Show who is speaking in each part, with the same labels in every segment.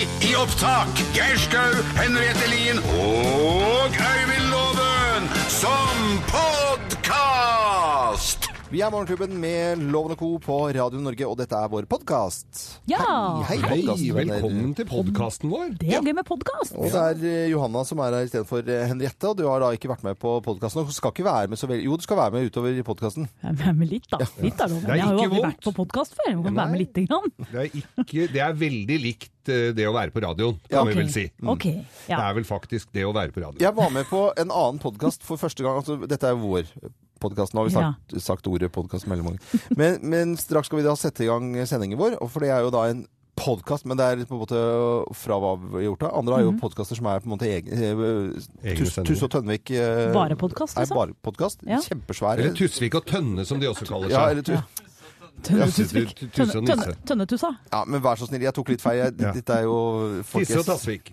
Speaker 1: Lydopptak. Geir Skau, Henriette Lien og Øyvind Loven som podkast!
Speaker 2: Vi er Morgenklubben med Loven og Co. på Radio Norge, og dette er vår podkast.
Speaker 3: Ja.
Speaker 2: Hei, hei,
Speaker 4: Hei,
Speaker 2: podcastvenner.
Speaker 4: velkommen til podkasten vår.
Speaker 3: Det er gøy med podkast.
Speaker 2: Og det er eh, Johanna som er her istedenfor eh, Henriette, og du har da ikke vært med på podkasten. Og skal ikke være med så veldig Jo, du skal være med utover i podkasten.
Speaker 3: Ja, Men litt, da. Litt, da Loven.
Speaker 4: Det er
Speaker 3: Jeg har jo
Speaker 4: ikke
Speaker 3: aldri
Speaker 4: vondt.
Speaker 3: vært på podkast før. Jeg må være med lite grann.
Speaker 4: Det er, ikke, det er veldig likt eh, det å være på radioen, kan vi vel si.
Speaker 3: Ok,
Speaker 4: Det
Speaker 3: ja.
Speaker 4: er vel faktisk det å være på radioen.
Speaker 2: Jeg var med på en annen podkast for første gang. Altså, dette er vår podkast. Nå har vi sagt, sagt ordet podkast veldig mange Men, men straks skal vi da sette i gang sendingen vår, og for det er jo da en podkast, men det er på en måte fra hva vi har gjort da. Andre har
Speaker 3: Mhm.
Speaker 2: jo podkaster som er på en måte egen, eh,
Speaker 4: Egne
Speaker 2: Tus,
Speaker 4: sendinger.
Speaker 2: Tusse og Tønvik eh,
Speaker 3: Bare podkast,
Speaker 2: er
Speaker 3: liksom?
Speaker 2: Bare podkast.
Speaker 3: Ja.
Speaker 2: Kjempesvær.
Speaker 4: Eller altså. Tusvik og Tønne, som de også kaller
Speaker 2: Ja,
Speaker 4: seg.
Speaker 2: eller tu
Speaker 3: Tønnetusvik.
Speaker 4: Tusen-
Speaker 3: Tønne-
Speaker 4: tusen nisse.
Speaker 3: tønne- Tønnetussa.
Speaker 2: ja, men vær så snill, jeg tok litt feil. Jeg,
Speaker 4: Ja.
Speaker 2: Dette er jo
Speaker 4: Tisse og
Speaker 2: folkets-
Speaker 4: Tassvik.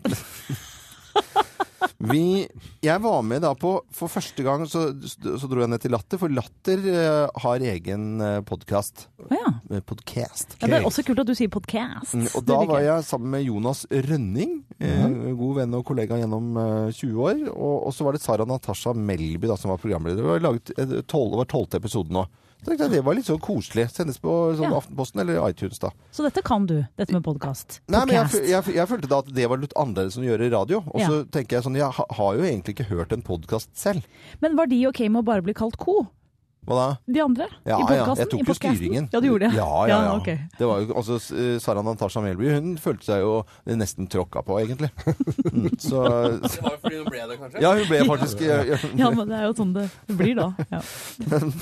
Speaker 2: Vi, jeg var med da på For første gang så, så dro jeg ned til Latter, for Latter eh, har egen podkast.
Speaker 3: Å ja.
Speaker 2: Podcast.
Speaker 3: ja. Det er også kult at du sier podkast.
Speaker 2: Mm, Og da var jeg sammen med Jonas Rønning, eh,
Speaker 3: Mhm.
Speaker 2: god venn og kollega gjennom eh, 20 år. Og, og så var det Sara Natasha Melby da, som var programleder. Det var laget eh, tolv- det var tolvte episode nå. Så tenkte jeg Det var litt sånn koselig. Sendes på sånn
Speaker 3: Ja.
Speaker 2: Aftenposten eller iTunes, da.
Speaker 3: Så dette kan du, dette med podkast.
Speaker 2: Nei, men jeg,
Speaker 3: Podcast.
Speaker 2: fø- jeg, fø- jeg følte da at det var litt annerledes enn å gjøre radio. Og så
Speaker 3: Ja.
Speaker 2: tenker jeg sånn Jeg ha, har jo egentlig ikke hørt en podkast selv.
Speaker 3: Men var de ok med å bare bli kalt co?
Speaker 2: Hva da?
Speaker 3: De andre?
Speaker 2: Ja,
Speaker 3: I
Speaker 2: ja.
Speaker 3: podkasten?
Speaker 2: Jeg tok jo styringen.
Speaker 3: Ja, du gjorde det?
Speaker 2: Ja, ja, ja.
Speaker 3: ok.
Speaker 2: Det var jo, altså, s- Sara Natasha Melby hun følte seg jo nesten tråkka på, egentlig. Mm, så
Speaker 5: Det var jo fordi hun ble det, kanskje?
Speaker 2: Ja, hun ble faktisk
Speaker 3: Ja, men det er jo sånn det blir da. Ja.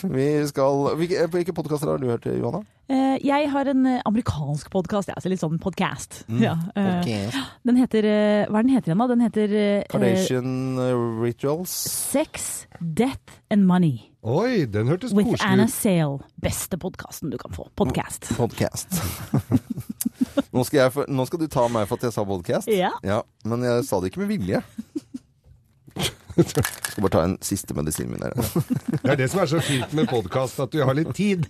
Speaker 2: Vi skal Hvilke, eh, hvilke podkaster har du hørt, Johanna?
Speaker 3: Eh, Jeg har en eh, amerikansk podkast, jeg, altså litt sånn podcast. Ja, eh,
Speaker 2: Mm, Podcast.
Speaker 3: Den heter eh, Hva er den heter igjen, da? Den heter eh,
Speaker 2: Kardashian eh, Rituals.
Speaker 3: Sex, Death and Money
Speaker 4: Oi, den hørtes
Speaker 3: with Anna
Speaker 4: koselig ut.
Speaker 3: Sale. Beste podkasten du kan få. Podcast.
Speaker 2: Mm, Podcast. nå, skal jeg, for- nå skal du ta meg for at jeg sa podcast.
Speaker 3: Ja.
Speaker 2: men jeg sa det ikke med vilje. Skal bare ta en siste medisinen min her.
Speaker 4: Det er det som er så fint med podkast, at du har litt tid.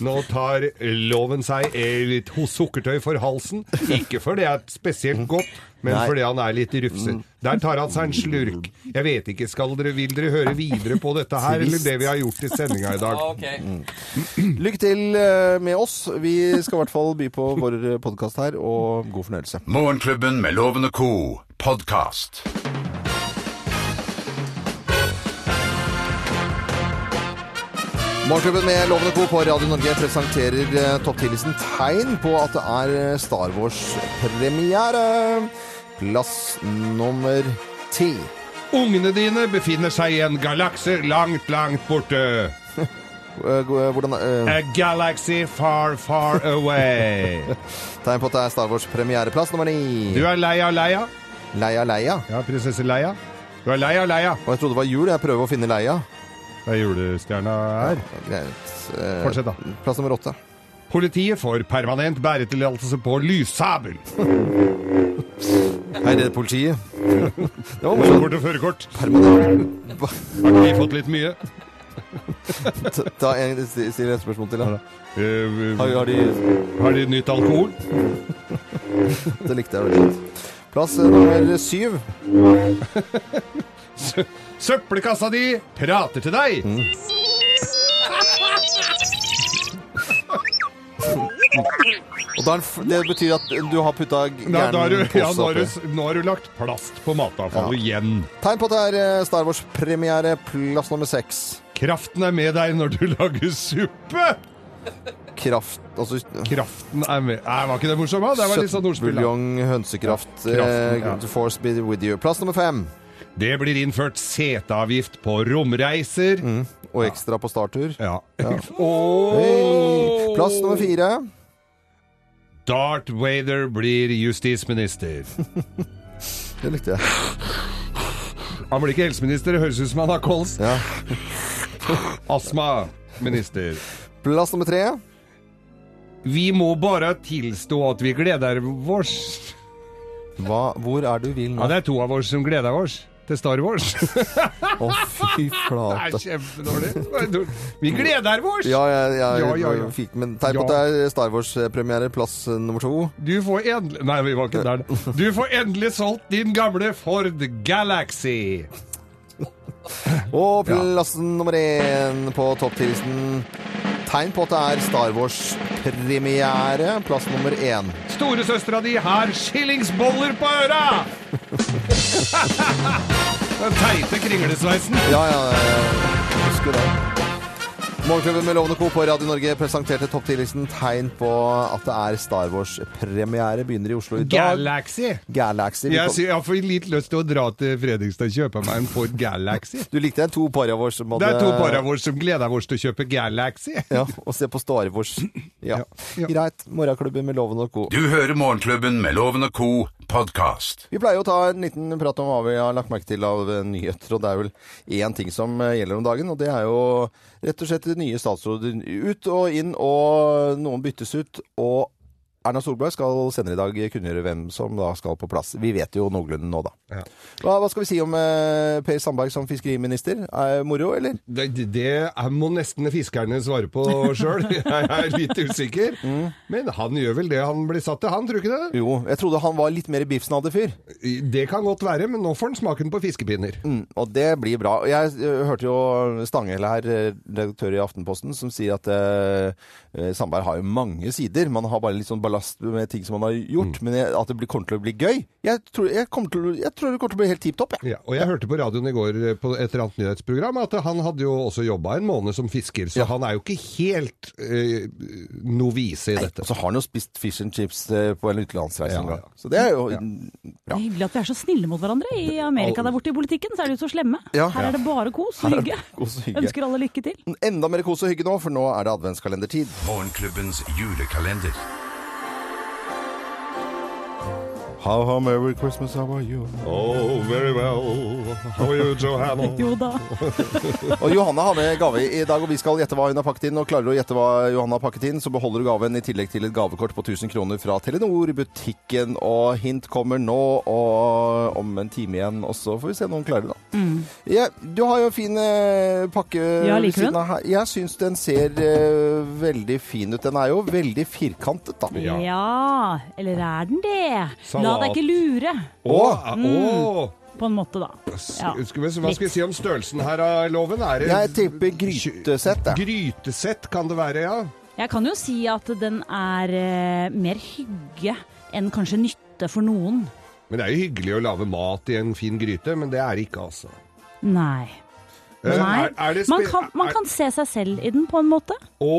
Speaker 4: Nå tar loven seg eh, litt ho- sukkertøy for halsen. Ikke fordi det er spesielt godt, men
Speaker 2: Nei.
Speaker 4: fordi han er litt rufser. Der tar han seg en slurk. Jeg vet ikke, skal dere, vil dere høre videre på dette her, eller det vi har gjort i sendinga i dag?
Speaker 5: Ah, ok.
Speaker 2: Lykke til eh, med oss. Vi skal i hvert fall by på vår podkast her, og god fornøyelse.
Speaker 1: Morgenklubben med Loven og Co. podkast.
Speaker 2: Morgenklubben med Loven og Co. på Radio Norge presenterer eh, topp 10-listen tegn på at det er eh, Star Wars-premiere. Plass nummer ti.
Speaker 4: Ungene dine befinner seg i en galakse langt, langt borte.
Speaker 2: Eh, go- eh, Hvordan eh,
Speaker 4: A galaxy far, far away.
Speaker 2: Tegn på at det er Star Wars-premiereplass nummer ni.
Speaker 4: Du er lei av Leia?
Speaker 2: Leia Leia.
Speaker 4: Ja, prinsesse Leia. Du er lei av Leia.
Speaker 2: Og jeg trodde det var jul. Jeg prøver å finne Leia.
Speaker 4: Det er julestjerna her.
Speaker 2: Greit. Eh,
Speaker 4: Fortsett, da.
Speaker 2: Plass nummer åtte.
Speaker 4: Politiet får permanent bæretillatelse på lyssabel.
Speaker 2: Hei, det er politiet. Det var morsomt.
Speaker 4: Borte førerkort.
Speaker 2: Permanent.
Speaker 4: Har ikke de fått litt mye?
Speaker 2: Ta- Ta en, still et spørsmål til. Da.
Speaker 4: Eh,
Speaker 2: Har, har de
Speaker 4: har de nytt alkohol?
Speaker 2: Det likte jeg veldig godt. Plass eh, nummer syv.
Speaker 4: Sø- Søppelkassa di prater til deg.
Speaker 2: Og da er den f- det betyr at du har putta
Speaker 4: Nå
Speaker 2: gæren
Speaker 4: nå har du, ja,
Speaker 2: pose
Speaker 4: nå har du,
Speaker 2: oppi.
Speaker 4: s- nå har du lagt plast på matavfallet igjen.
Speaker 2: Tegn på at det er eh, Star Wars-premiere, plass nummer seks.
Speaker 4: Kraften er med deg når du lager suppe.
Speaker 2: Kraft Altså
Speaker 4: Kraften er med. Nei, var ikke det morsomt? da? Det var litt sånn ordspill. da.
Speaker 2: kjøttbuljong, hønsekraft,
Speaker 4: Ja, kraften,
Speaker 2: eh,
Speaker 4: ja.
Speaker 2: the force be with you. Plass nummer fem.
Speaker 4: Det blir innført seteavgift på romreiser.
Speaker 2: Mm. Og ekstra på starttur.
Speaker 4: Ja. Oh!
Speaker 2: Hei. Plass nummer fire.
Speaker 4: Darth Vader blir justisminister.
Speaker 2: Det likte jeg.
Speaker 4: Han blir ikke helseminister, det høres ut som han har kols.
Speaker 2: Ja.
Speaker 4: Astmaminister.
Speaker 2: Plass nummer tre.
Speaker 4: Vi må bare tilstå at vi gleder oss.
Speaker 2: Hva, hvor er du vil
Speaker 4: Ja,
Speaker 2: nå?
Speaker 4: det er to av oss som gleder oss. til Star Wars.
Speaker 2: Å, fy
Speaker 4: Det er
Speaker 2: flate.
Speaker 4: kjempedårlig. Vi gleder oss!
Speaker 2: Ja, jeg, jeg,
Speaker 4: Ja, ja, ja.
Speaker 2: fikk Men tegn på
Speaker 4: Ja.
Speaker 2: at det er Star Wars-premiere, plass eh, nummer to.
Speaker 4: Du får endelig Nei, vi var ikke der. Du får endelig solgt din gamle Ford Galaxy.
Speaker 2: Og plassen nummer én på topptilsen Tegn på at det er Star Wars-premiere. Plass nummer én.
Speaker 4: Storesøstera di har skillingsboller på øra! Den teite kringlesveisen.
Speaker 2: Ja, ja, jeg husker det. Morgenklubben med Lovende Co. på Radio Norge presenterte topptilsen tegn på at det er Star Wars-premiere. Begynner i Oslo i dag.
Speaker 4: Galaxy.
Speaker 2: Galaxy. Vi
Speaker 4: Jeg,
Speaker 2: kom-
Speaker 4: sier, jeg får litt lyst til å dra til Fredrikstad og kjøpe meg en Ford Galaxy.
Speaker 2: Du likte det? To para vår som hadde
Speaker 4: Det er to par av oss som gleder oss til å kjøpe Galaxy.
Speaker 2: Ja, og se på Star Wars. Ja.
Speaker 4: Ja.
Speaker 2: Greit. Morgenklubben med Loven og Co.
Speaker 1: Du hører Morgenklubben med Loven og Co. podkast.
Speaker 2: Vi pleier å ta en liten prat om hva vi har lagt merke til av eh, nyheter, og det er vel én ting som eh, gjelder om dagen, og det er jo rett og slett nye statsråder ut og inn, og noen byttes ut, og Erna Solberg skal senere i dag kunngjøre hvem som da skal på plass. Vi vet jo noenlunde nå, da.
Speaker 4: Ja.
Speaker 2: Hva, hva skal vi si om eh, Per Sandberg som fiskeriminister? Er moro, eller?
Speaker 4: Det, det det er- må nesten fiskerne svare på sjøl. Jeg er litt usikker. Men han gjør vel det han blir satt til, han, tror du ikke det?
Speaker 2: Jo, jeg trodde han var litt mer Bibsen-hadde-fyr.
Speaker 4: Det kan godt være, men nå får han smaken på fiskepinner.
Speaker 2: Mm, og det blir bra. Og Jeg eh, hørte jo Stanghelle her, eh, redaktør i Aftenposten, som sier at eh, eh, Sandberg har jo mange sider. Man har bare litt sånn ballast med ting som man har gjort, men jeg, at det blir, kommer til å bli gøy. Jeg tror, jeg, kommer til, å- jeg tror det kommer til å bli helt tipp topp, jeg.
Speaker 4: Ja, og jeg hørte på radioen i går eh, på et eller annet nyhetsprogram at han hadde jo også jobba en måned som fisker, så han er jo ikke helt eh, novise i
Speaker 2: Og
Speaker 4: dette.
Speaker 2: så har han jo spist fish and chips eh, på en utenlandsreise
Speaker 4: Ja,
Speaker 2: en gang.
Speaker 4: ja.
Speaker 2: Så det er jo
Speaker 3: Det
Speaker 2: bra.
Speaker 3: er hyggelig at vi er så snille mot hverandre. I Amerika der borte i politikken så er de jo så slemme.
Speaker 2: Ja.
Speaker 3: Her er det bare kos og
Speaker 2: Her er det
Speaker 3: hygge.
Speaker 2: kos og hygge.
Speaker 3: Ønsker alle lykke til.
Speaker 2: Enda mer kos og hygge nå, for nå er det adventskalendertid.
Speaker 1: Morgenklubbens julekalender.
Speaker 2: How, how merry Christmas, how are you?
Speaker 4: Oh, very well. How are you, Johanna?
Speaker 3: Jo da.
Speaker 2: Og Johanna har med gave i dag, og vi skal gjette hva hun har pakket inn. Og klarer du å gjette hva Johanna har pakket inn, så beholder du gaven i tillegg til et gavekort på 1000 kroner fra Telenor i butikken. Og hint kommer nå, og om en time igjen. Og så får vi se om hun klarer det, da. Ja, du har jo en fin eh, pakke
Speaker 3: Mm. Ja,
Speaker 2: ved
Speaker 3: liker du den?
Speaker 2: av her. Jeg syns den ser eh, veldig fin ut. Den er jo veldig firkantet, da.
Speaker 4: Ja.
Speaker 3: Ja, eller er den det? La
Speaker 4: Salat.
Speaker 3: deg ikke lure, Mm,
Speaker 4: Å, å.
Speaker 3: på en måte, da. Ja.
Speaker 4: Skal vi, hva skal vi si om størrelsen her av loven? Er det
Speaker 2: Jeg tipper grytesett, jeg.
Speaker 4: Grytesett kan det være, ja.
Speaker 3: Jeg kan jo si at den er eh, mer hygge enn kanskje nytte for noen.
Speaker 4: Men det er jo hyggelig å lage mat i en fin gryte, men det er det ikke, altså.
Speaker 3: Nei.
Speaker 4: Eh,
Speaker 3: Nei.
Speaker 4: er- er det spe-
Speaker 3: Man kan, man
Speaker 4: er-
Speaker 3: kan se seg selv i den, på en måte.
Speaker 4: Å,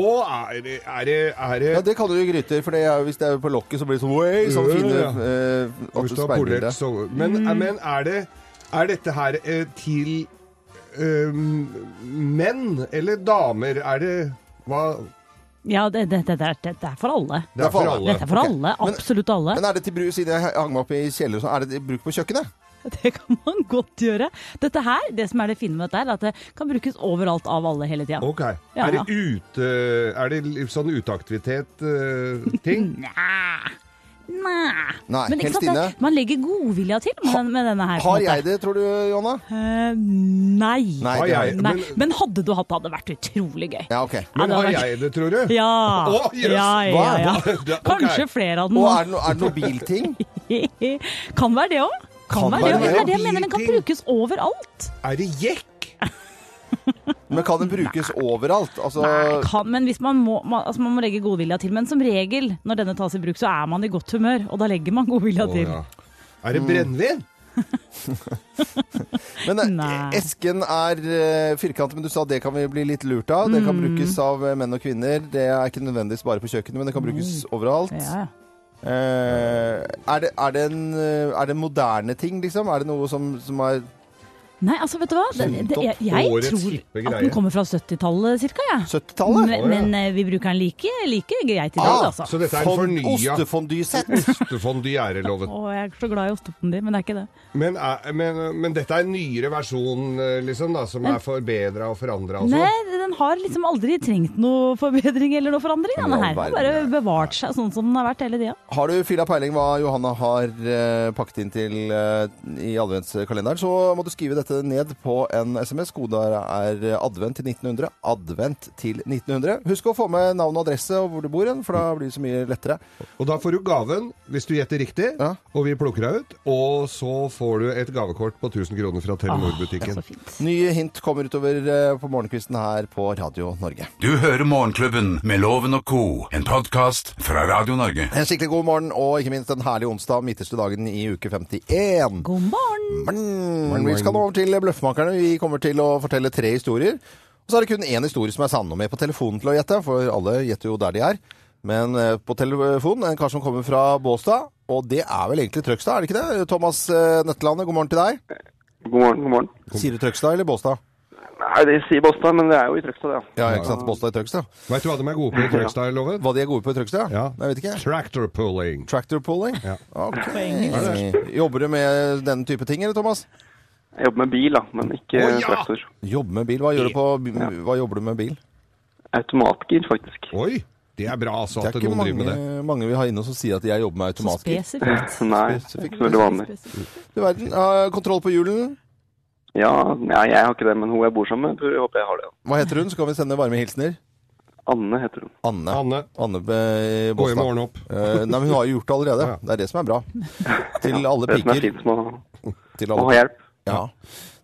Speaker 4: er det, er det, er det
Speaker 2: Ja, det kaller du gryter, for det er, hvis det er på lokket, så blir det sånn Oi, sånn fine
Speaker 4: Ja.
Speaker 2: eh, at du
Speaker 4: Hvis du har polert,
Speaker 2: speilbilde.
Speaker 4: så Men, eh, men er, det, er dette her eh, til eh, menn eller damer? Er det hva
Speaker 3: Ja, det, det, det, det, er- det er for alle.
Speaker 4: Det er for alle.
Speaker 3: Dette er for
Speaker 2: Ok.
Speaker 3: alle. Absolutt alle.
Speaker 2: Men er det til bruk, siden jeg hang meg opp i kjeller og sånn, er det til bruk på kjøkkenet?
Speaker 3: Det kan man godt gjøre. Dette her, Det som er det fine med dette, her, er at det kan brukes overalt av alle hele tida.
Speaker 4: Ok.
Speaker 3: Ja.
Speaker 4: Er det ute Er det litt sånn eh, uteaktivitet-ting?
Speaker 3: Næh. Næh.
Speaker 2: Nei,
Speaker 3: Men ikke
Speaker 2: helt
Speaker 3: sant, det-
Speaker 2: stille.
Speaker 3: Man legger godvilja til med, den- med denne her. på en
Speaker 2: Har
Speaker 3: måte.
Speaker 2: jeg det, tror du, Jonna?
Speaker 3: Eh, nei.
Speaker 2: Nei,
Speaker 4: Har
Speaker 2: det har
Speaker 4: jeg-
Speaker 2: jeg.
Speaker 3: Nei.
Speaker 4: men-
Speaker 3: Men hadde du hatt det, hadde det vært utrolig gøy.
Speaker 2: Ja, ok.
Speaker 3: Ja,
Speaker 4: men
Speaker 3: det
Speaker 4: har
Speaker 3: hadde vært-
Speaker 4: jeg det, tror du?
Speaker 3: Ja.
Speaker 4: Å, jøss.
Speaker 3: ja, ja,
Speaker 4: Hva?
Speaker 3: ja.
Speaker 4: Hva? Det- ok.
Speaker 3: Kanskje flere av dem.
Speaker 2: Og er det, no, er det noen bilting?
Speaker 3: Kan være det òg.
Speaker 2: Kan
Speaker 3: Kan, være det
Speaker 2: være
Speaker 3: også. Det
Speaker 2: det.
Speaker 3: er det jeg mener, den kan brukes overalt.
Speaker 4: Er det jekk?
Speaker 2: Men kan den brukes overalt? Altså,
Speaker 3: Nei, kan, men hvis man må, man, altså man må legge godvilja til. Men som regel når denne tas i bruk, så er man i godt humør, og da legger man godvilja
Speaker 4: Å,
Speaker 3: til.
Speaker 4: ja. Er det brennevin?
Speaker 2: men eh,
Speaker 3: Nei.
Speaker 2: esken er eh, firkantet, men du sa det kan vi bli litt lurt av. Det kan
Speaker 3: Mm.
Speaker 2: brukes av eh, menn og kvinner. Det er ikke nødvendigvis bare på kjøkkenet, men det kan brukes overalt.
Speaker 3: Ja, ja.
Speaker 2: Eh, er, det, er, det en, eh, er det en moderne ting, liksom? Er det noe som, som er
Speaker 3: Nei, altså, vet du hva? Det, det, jeg jeg
Speaker 4: Årets
Speaker 3: tror
Speaker 4: hippe
Speaker 3: at
Speaker 4: greie.
Speaker 3: den kommer fra 70-tallet cirka, jeg.
Speaker 2: 70-tallet?
Speaker 3: Men, men eh, vi bruker den like, like greit i dag,
Speaker 2: Ah,
Speaker 3: altså.
Speaker 4: Så dette er en
Speaker 2: Fond-
Speaker 4: fornya
Speaker 2: Ostefondysett.
Speaker 4: ostefondy æreloven.
Speaker 3: Å, jeg er så glad i ostepondi, men det er ikke det.
Speaker 4: Men, er, men, eh, men dette er en nyere versjon, eh, liksom, da, som er forbedra og forandra og
Speaker 3: Nei,
Speaker 4: sånn?
Speaker 3: den har liksom aldri trengt noe forbedring eller noe forandring. Den
Speaker 2: Men i all
Speaker 3: her har
Speaker 2: verden,
Speaker 3: bare
Speaker 2: det
Speaker 3: bevart seg sånn som den har vært hele tida.
Speaker 2: Har du fila peiling hva Johanna har eh, pakket inn til eh, i adventskalenderen, så må du skrive dette ned på en SMS. Kodeordet er eh, advent til 1900. Advent til 1900. Husk å få med navn og adresse og hvor du bor, hen, for da blir det så mye lettere.
Speaker 4: Og da får du gaven, hvis du gjetter riktig,
Speaker 2: Ja.
Speaker 4: og vi plukker deg ut. Og så får du et gavekort på 1000 kroner fra Telenor-butikken.
Speaker 3: Ah,
Speaker 2: Ah,
Speaker 3: Så fint.
Speaker 2: Nye hint kommer utover eh, på morgenkvisten her på Radio Norge.
Speaker 1: Du hører Morgenklubben med Loven og Co., en podkast fra Radio Norge.
Speaker 2: En skikkelig god morgen, og ikke minst en herlig onsdag, midterste dagen i uke 51.
Speaker 3: God morgen!
Speaker 2: Men vi skal nå over til Bløffmakerne. Vi kommer til å fortelle tre historier. Og så er det kun én historie som er sann og med på telefonen til å gjette, for alle gjetter jo der de er. Men eh, på telefonen en kar som kommer fra Båstad, og det er vel egentlig Trøgstad, er det ikke det? Thomas eh, Nøttelandet, god morgen til deg.
Speaker 6: God morgen, god morgen.
Speaker 2: Sier du Trøgstad eller Båstad?
Speaker 6: Nei, det sier Båstad, men det er jo i Trøgstad, det. Ja.
Speaker 2: Ja, ikke sant. Båstad i Trøgstad.
Speaker 4: Veit du hva de er gode på i Trøgstad-loven?
Speaker 2: Hva de er gode på i Trøgstad?
Speaker 4: Ja.
Speaker 2: Nei, Jeg vet ikke.
Speaker 4: Tractor pulling.
Speaker 2: Tractor pulling?
Speaker 4: Ja.
Speaker 2: Ok. Jobber du med den type ting, eller, Thomas?
Speaker 6: Jeg jobber med bil, da, men ikke
Speaker 4: Å, ja!
Speaker 6: traktor.
Speaker 2: Jobber med bil. Hva, gjør du på, hva jobber du med bil?
Speaker 6: Automatgir, faktisk.
Speaker 4: Oi! Det er bra altså
Speaker 2: Det
Speaker 4: at
Speaker 2: er ikke
Speaker 4: noen driver med det.
Speaker 2: mange, mange vi har inne som sier at jeg jobber med
Speaker 3: Så
Speaker 2: automatgir.
Speaker 3: spesifikt.
Speaker 6: Nei, det er ikke så veldig vanlig.
Speaker 3: Spesifikt.
Speaker 2: Du verden. Har kontroll på julen.
Speaker 6: Ja, nei, jeg har ikke det, men hun jeg bor sammen med, tror jeg håper jeg har det.
Speaker 2: Hva heter hun? Så kan vi sende varme hilsener.
Speaker 6: Anne heter hun.
Speaker 2: Anne.
Speaker 4: Anne,
Speaker 2: Anne eh,
Speaker 4: gå hjem og
Speaker 2: Båstad.
Speaker 4: ordne opp.
Speaker 2: Eh, nei, men hun har jo gjort det allerede.
Speaker 4: Ja.
Speaker 2: Det er det som er bra. Til alle
Speaker 6: Det som er
Speaker 2: piker.
Speaker 6: fint med å,
Speaker 2: Til
Speaker 6: å
Speaker 2: alle,
Speaker 6: ha hjelp.
Speaker 2: ja.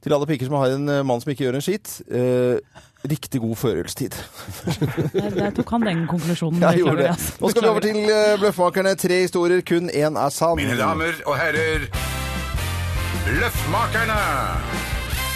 Speaker 2: til alle piker som har en eh, mann som ikke gjør en skitt. eh, riktig god førjulstid.
Speaker 3: Der, der tok han den konklusjonen.
Speaker 2: Jeg
Speaker 3: beklager
Speaker 2: gjorde det.
Speaker 3: altså.
Speaker 2: Nå skal vi over
Speaker 3: Beklager.
Speaker 2: til eh, Bløffmakerne. Tre historier, kun én er sann.
Speaker 1: Mine damer og herrer, Løffmakerne!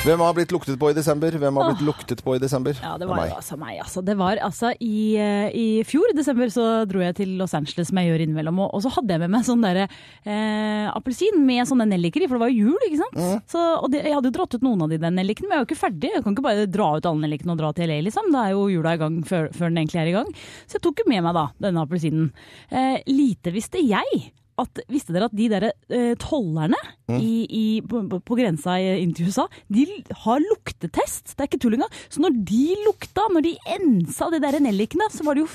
Speaker 2: Hvem har blitt luktet på i desember? Hvem har blitt luktet på i desember?
Speaker 3: Ja, det var
Speaker 2: Meg.
Speaker 3: jo altså meg, altså. Det var altså i, eh, i fjor, desember, så dro jeg til Los Angeles, som jeg gjør innimellom. Og, og så hadde jeg med meg sånn derre eh, appelsin med sånne nelliker i, for det var jo jul, ikke sant.
Speaker 2: Mm.
Speaker 3: Så, og det, jeg hadde jo dratt ut noen av de der nellikene, men jeg er jo ikke ferdig. Jeg kan ikke bare dra ut alle nellikene og dra til LA, liksom. Da er jo jula i gang før, før den egentlig er i gang. Så jeg tok jo med meg da denne appelsinen. Eh, lite visste jeg at visste dere at de der eh, tollerne
Speaker 2: Mm.
Speaker 3: i, i, på, på- på grensa i- inn til USA, de l- har luktetest. Det er ikke tull engang. Så når de lukta, når de ensa de der nellikene, så var det jo